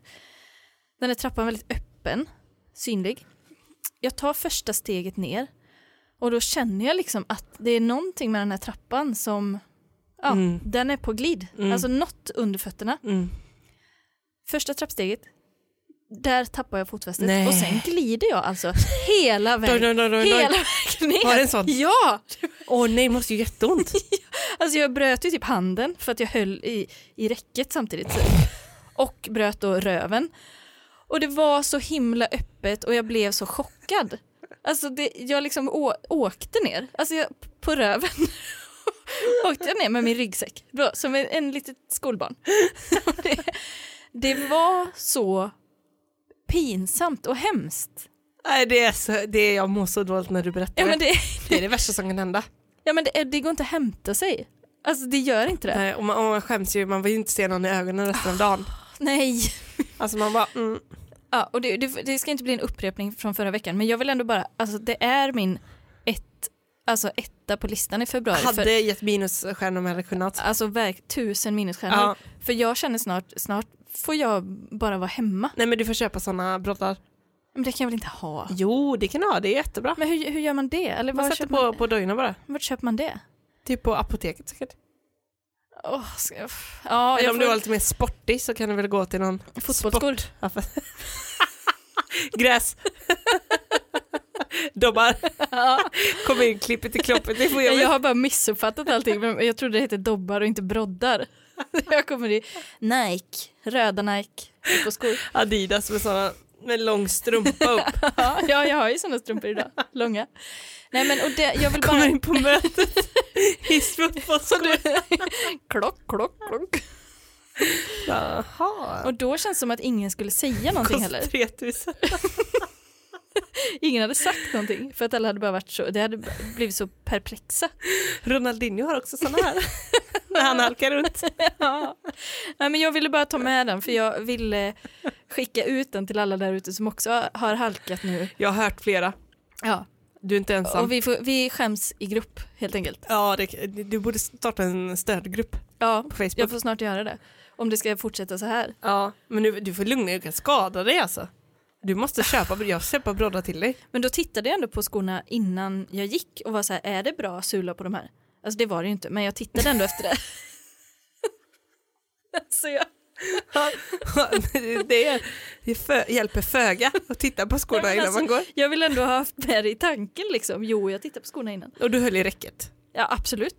S1: Den här trappan är väldigt öppen, synlig. Jag tar första steget ner och då känner jag liksom att det är någonting med den här trappan som, ja,
S2: Mm.
S1: den är på glid.
S2: Mm.
S1: Alltså något under fötterna.
S2: Mm.
S1: Första trappsteget, där tappar jag fotfästet
S2: Nej.
S1: och sen glider jag alltså hela
S2: Doj,
S1: vägen.
S2: doj, doj, doj,
S1: Hela
S2: doj.
S1: vägen ner.
S2: Var det en sån?
S1: Ja!
S2: Åh nej, det måste ju jätteont.
S1: Alltså jag bröt ju typ handen för att jag höll i, i räcket samtidigt. typ. Och bröt då röven. Och det var så himla öppet och jag blev så chockad. Alltså det, jag liksom å, åkte ner, alltså jag, på röven. <laughs> åkte jag ner med min ryggsäck, Det var som en, en litet skolbarn. <laughs> det, det var så pinsamt och hemskt.
S2: <laughs> nej, det är så, det är, jag mår så dåligt när du berättar
S1: Ja men, det,
S2: det är det värsta som kan hända.
S1: ja, men det, det går inte att hämta sig. Alltså det gör inte det.
S2: <laughs> Nej, och, man, och man skäms ju, man vill ju inte se någon i ögonen resten av dagen.
S1: Nej.
S2: Alltså man bara, mm.
S1: Ja, och det, det, det ska inte bli en upprepning från förra veckan, men jag vill ändå bara, alltså det är min ett, alltså etta på listan i februari. För,
S2: hade gett minusstjärnor om jag hade kunnat.
S1: alltså verk, tusen minusstjärnor.
S2: Ja.
S1: För jag känner snart, snart får jag bara vara hemma.
S2: Nej men du får köpa sådana broddar.
S1: Men det kan jag väl inte ha?
S2: Jo, det kan du ha, det är jättebra.
S1: Men hur, hur gör man det? Eller
S2: Man
S1: var
S2: sätter
S1: köper
S2: på,
S1: man,
S2: på dojorna bara.
S1: vart köper man det?
S2: Typ på apoteket säkert.
S1: Åh, ska jag, ja,
S2: Eller
S1: jag
S2: om du var
S1: får,
S2: lite mer sportig så kan du väl gå till någon
S1: fotbollsskor.
S2: Varför? Gräs. <laughs> Dobbar. <laughs> Kom in, klippet i kloppet. Det får jag
S1: Jag,
S2: väl-
S1: har bara missuppfattat allting. men Jag trodde det hette dobbar och inte broddar. <laughs> Jag kommer i Nike, röda Nike, fotbollsskor.
S2: Adidas med såna med lång
S1: <laughs>
S2: strumpa upp.
S1: Ja, ja, jag har ju såna strumpor idag. Långa. Nej men och det, jag vill
S2: Kommer
S1: bara...
S2: in på mötet <laughs> i strumpor.
S1: Klock, klock, klock.
S2: Jaha.
S1: Och då känns det som att ingen skulle säga någonting
S2: Kostar
S1: heller.
S2: 3000.
S1: Ingen hade sagt någonting för att alla hade bara varit så, det hade blivit så
S2: <laughs>
S1: perplexa.
S2: Ronaldinho har också såna
S1: <laughs>
S2: här. När han halkar runt.
S1: Ja. Nej men jag ville bara ta med den för jag ville skicka ut den till alla där ute som också har halkat nu.
S2: Jag har hört flera.
S1: Ja.
S2: Du är inte ensam.
S1: Och vi, får, vi skäms i grupp helt enkelt.
S2: Ja, det, du borde starta en stödgrupp
S1: Ja,
S2: på Facebook.
S1: jag får snart göra det. Om det ska fortsätta så här.
S2: Ja, men du, du får lugna dig, du kan skada dig alltså. Du måste köpa, jag köper broddar till dig.
S1: Men då tittade jag ändå på skorna innan jag gick och var så här, är det bra sula på de här? Alltså det var det ju inte, men jag tittade ändå efter det. <laughs> alltså jag,
S2: <laughs> det, är, Det fö- hjälper föga att titta på skorna innan man går.
S1: Jag vill ändå ha haft det i tanken liksom. Jo, jag tittar på skorna innan.
S2: Och du höll i räcket.
S1: Ja, absolut.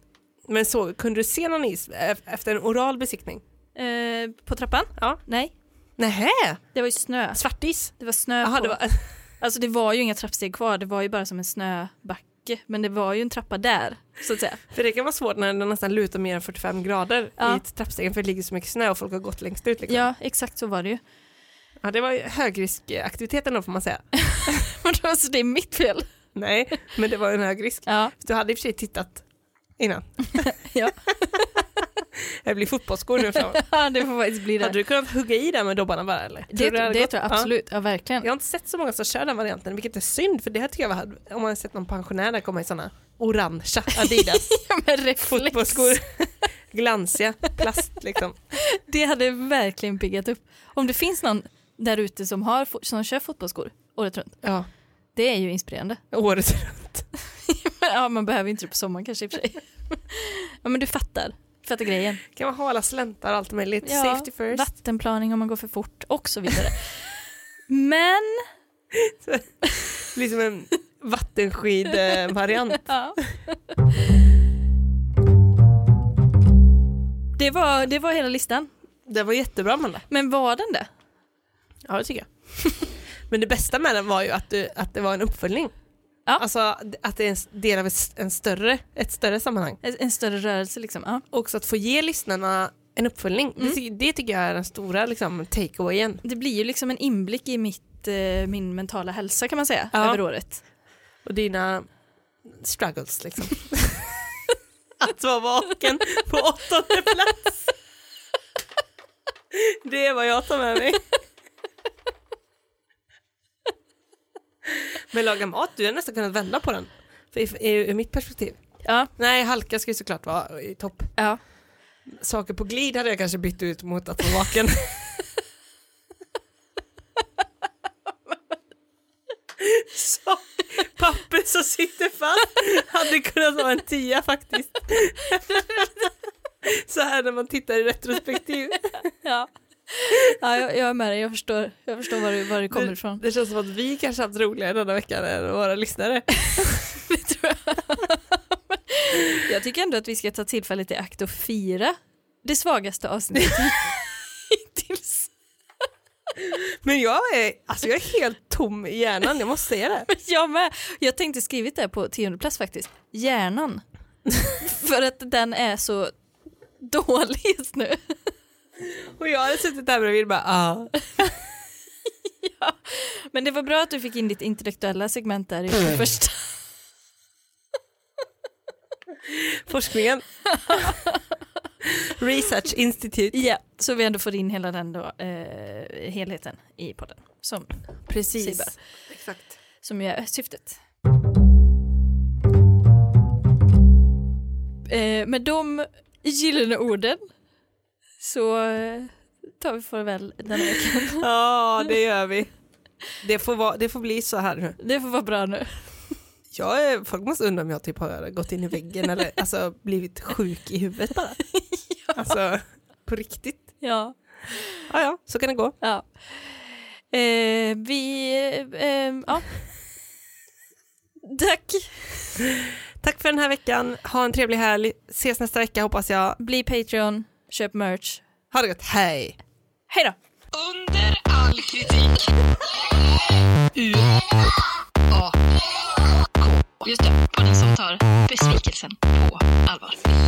S2: Men så, kunde du se någon is e- efter en oral besiktning?
S1: Eh, på trappan?
S2: Ja.
S1: Nej,
S2: Nähä,
S1: det var ju snö.
S2: svartis?
S1: Det var snö
S2: Jaha,
S1: på.
S2: det var... <laughs>
S1: Alltså det var ju inga trappsteg kvar, det var ju bara som en snöbacke. Men det var ju en trappa där, så att säga.
S2: För det kan vara svårt när den nästan lutar mer än 45 grader
S1: Ja.
S2: i trappstegen för det ligger så mycket snö och folk har gått längst ut. Liksom. Ja.
S1: Ja, exakt så var det ju.
S2: det var ju högriskaktiviteten då får
S1: <laughs>
S2: man säga.
S1: alltså <laughs> det är mitt fel.
S2: Nej, men det var en hög risk.
S1: <laughs> Ja,
S2: Du hade i och för sig tittat innan.
S1: <laughs>
S2: <laughs>
S1: Ja.
S2: det blir fotbollsskor
S1: <laughs>
S2: nu framåt.
S1: det får faktiskt bli
S2: Hade
S1: det.
S2: du kunnat hugga i den med dobbarna bara eller?
S1: Det,
S2: du hade
S1: det
S2: gått?
S1: tror jag
S2: Ja.
S1: absolut, ja verkligen.
S2: <laughs> Jag har inte sett så många som kör den varianten, vilket är synd för det här tycker jag var, om man har sett någon pensionär där komma i sådana orangea <laughs> Adidas
S1: <laughs> Ja, men reflex.
S2: fotbollsskor. <laughs> Glansiga, plast liksom.
S1: Det hade verkligen piggat upp. Om det finns någon där ute som, har, fo- som kör fotbollsskor året runt,
S2: Ja,
S1: det är ju
S2: <laughs>
S1: inspirerande.
S2: året runt.
S1: ja, man behöver inte det på sommaren kanske i och för
S2: <laughs>
S1: sig. ja, men du fattar. Fattar grejen.
S2: Kan man ha alla släntar och allt möjligt.
S1: Ja,
S2: Safety first.
S1: Vattenplaning om man går för fort och så
S2: <laughs>
S1: vidare. men,
S2: Liksom en <laughs> vattenskid-variant.
S1: ja. <laughs> Det var, det var hela listan.
S2: Det var jättebra Amanda.
S1: Men var den det?
S2: Ja, det tycker jag. <laughs> Men det bästa med den var ju att, du, att det var en uppföljning.
S1: Ja.
S2: Alltså att det är en del av ett, en större, ett större sammanhang.
S1: En, en större rörelse liksom. Ja.
S2: också att få ge lyssnarna en uppföljning. Det, ty- det tycker jag är den stora liksom, takeawayen.
S1: Det blir ju liksom en inblick i mitt, eh, min mentala hälsa kan man säga,
S2: Ja.
S1: över året.
S2: Och dina struggles liksom. <laughs> att vara vaken på åttonde plats. Det är vad jag tar med mig. Men laga mat, du har nästan kunnat vända på den. För i, i, ur mitt perspektiv.
S1: Ja,
S2: Nej, halka ska ju såklart vara i topp.
S1: ja.
S2: Saker på glid hade jag kanske bytt ut mot att vara vaken. <laughs> Så, papper som sitter fast hade kunnat vara en tia faktiskt. <laughs> Så här när man tittar i retrospektiv.
S1: <laughs> Ja, ja jag, jag är med dig. Jag förstår, jag förstår var, du, var du kommer ifrån.
S2: Det känns som att vi kanske haft roligare denna veckan än våra lyssnare.
S1: Jag tycker ändå att vi ska ta tillfället i akt och fira det svagaste <laughs> avsnittet hittills.
S2: Men jag är, alltså jag är helt tom i hjärnan, jag måste säga det.
S1: Jag med. Jag tänkte skrivit det på tionde plats faktiskt. Hjärnan. <laughs> För att den är så dålig just nu.
S2: Och jag hade suttit där bredvid och bara ah.
S1: Men det var bra att du fick in ditt intellektuella segment <laughs> där i det första.
S2: <laughs> Forskningen. Research Institute.
S1: Ja, så vi ändå får in hela den då, eh, helheten i podden. Som,
S2: Precis.
S1: Sibbe.
S2: Exakt.
S1: som ju är syftet. Eh, med de gyllene orden så eh, tar vi farväl den här veckan.
S2: Ja, det gör vi. Det får, vara, det får bli så här nu.
S1: Det får vara bra nu.
S2: Jag är, folk måste undra om jag typ har gått in i väggen eller alltså, blivit sjuk i huvudet <laughs> bara. Alltså, på riktigt.
S1: Ja.
S2: Ja, ja, så kan det gå.
S1: ja. Eh, vi, eh, ja. Tack.
S2: Tack för den här veckan. Ha en trevlig helg. Ses nästa vecka hoppas jag.
S1: Bli Patreon, köp merch.
S2: Ha det gott. Hej!
S1: Hej då!
S3: Under all kritik. U A K. Just det, podden som tar besvikelsen på allvar.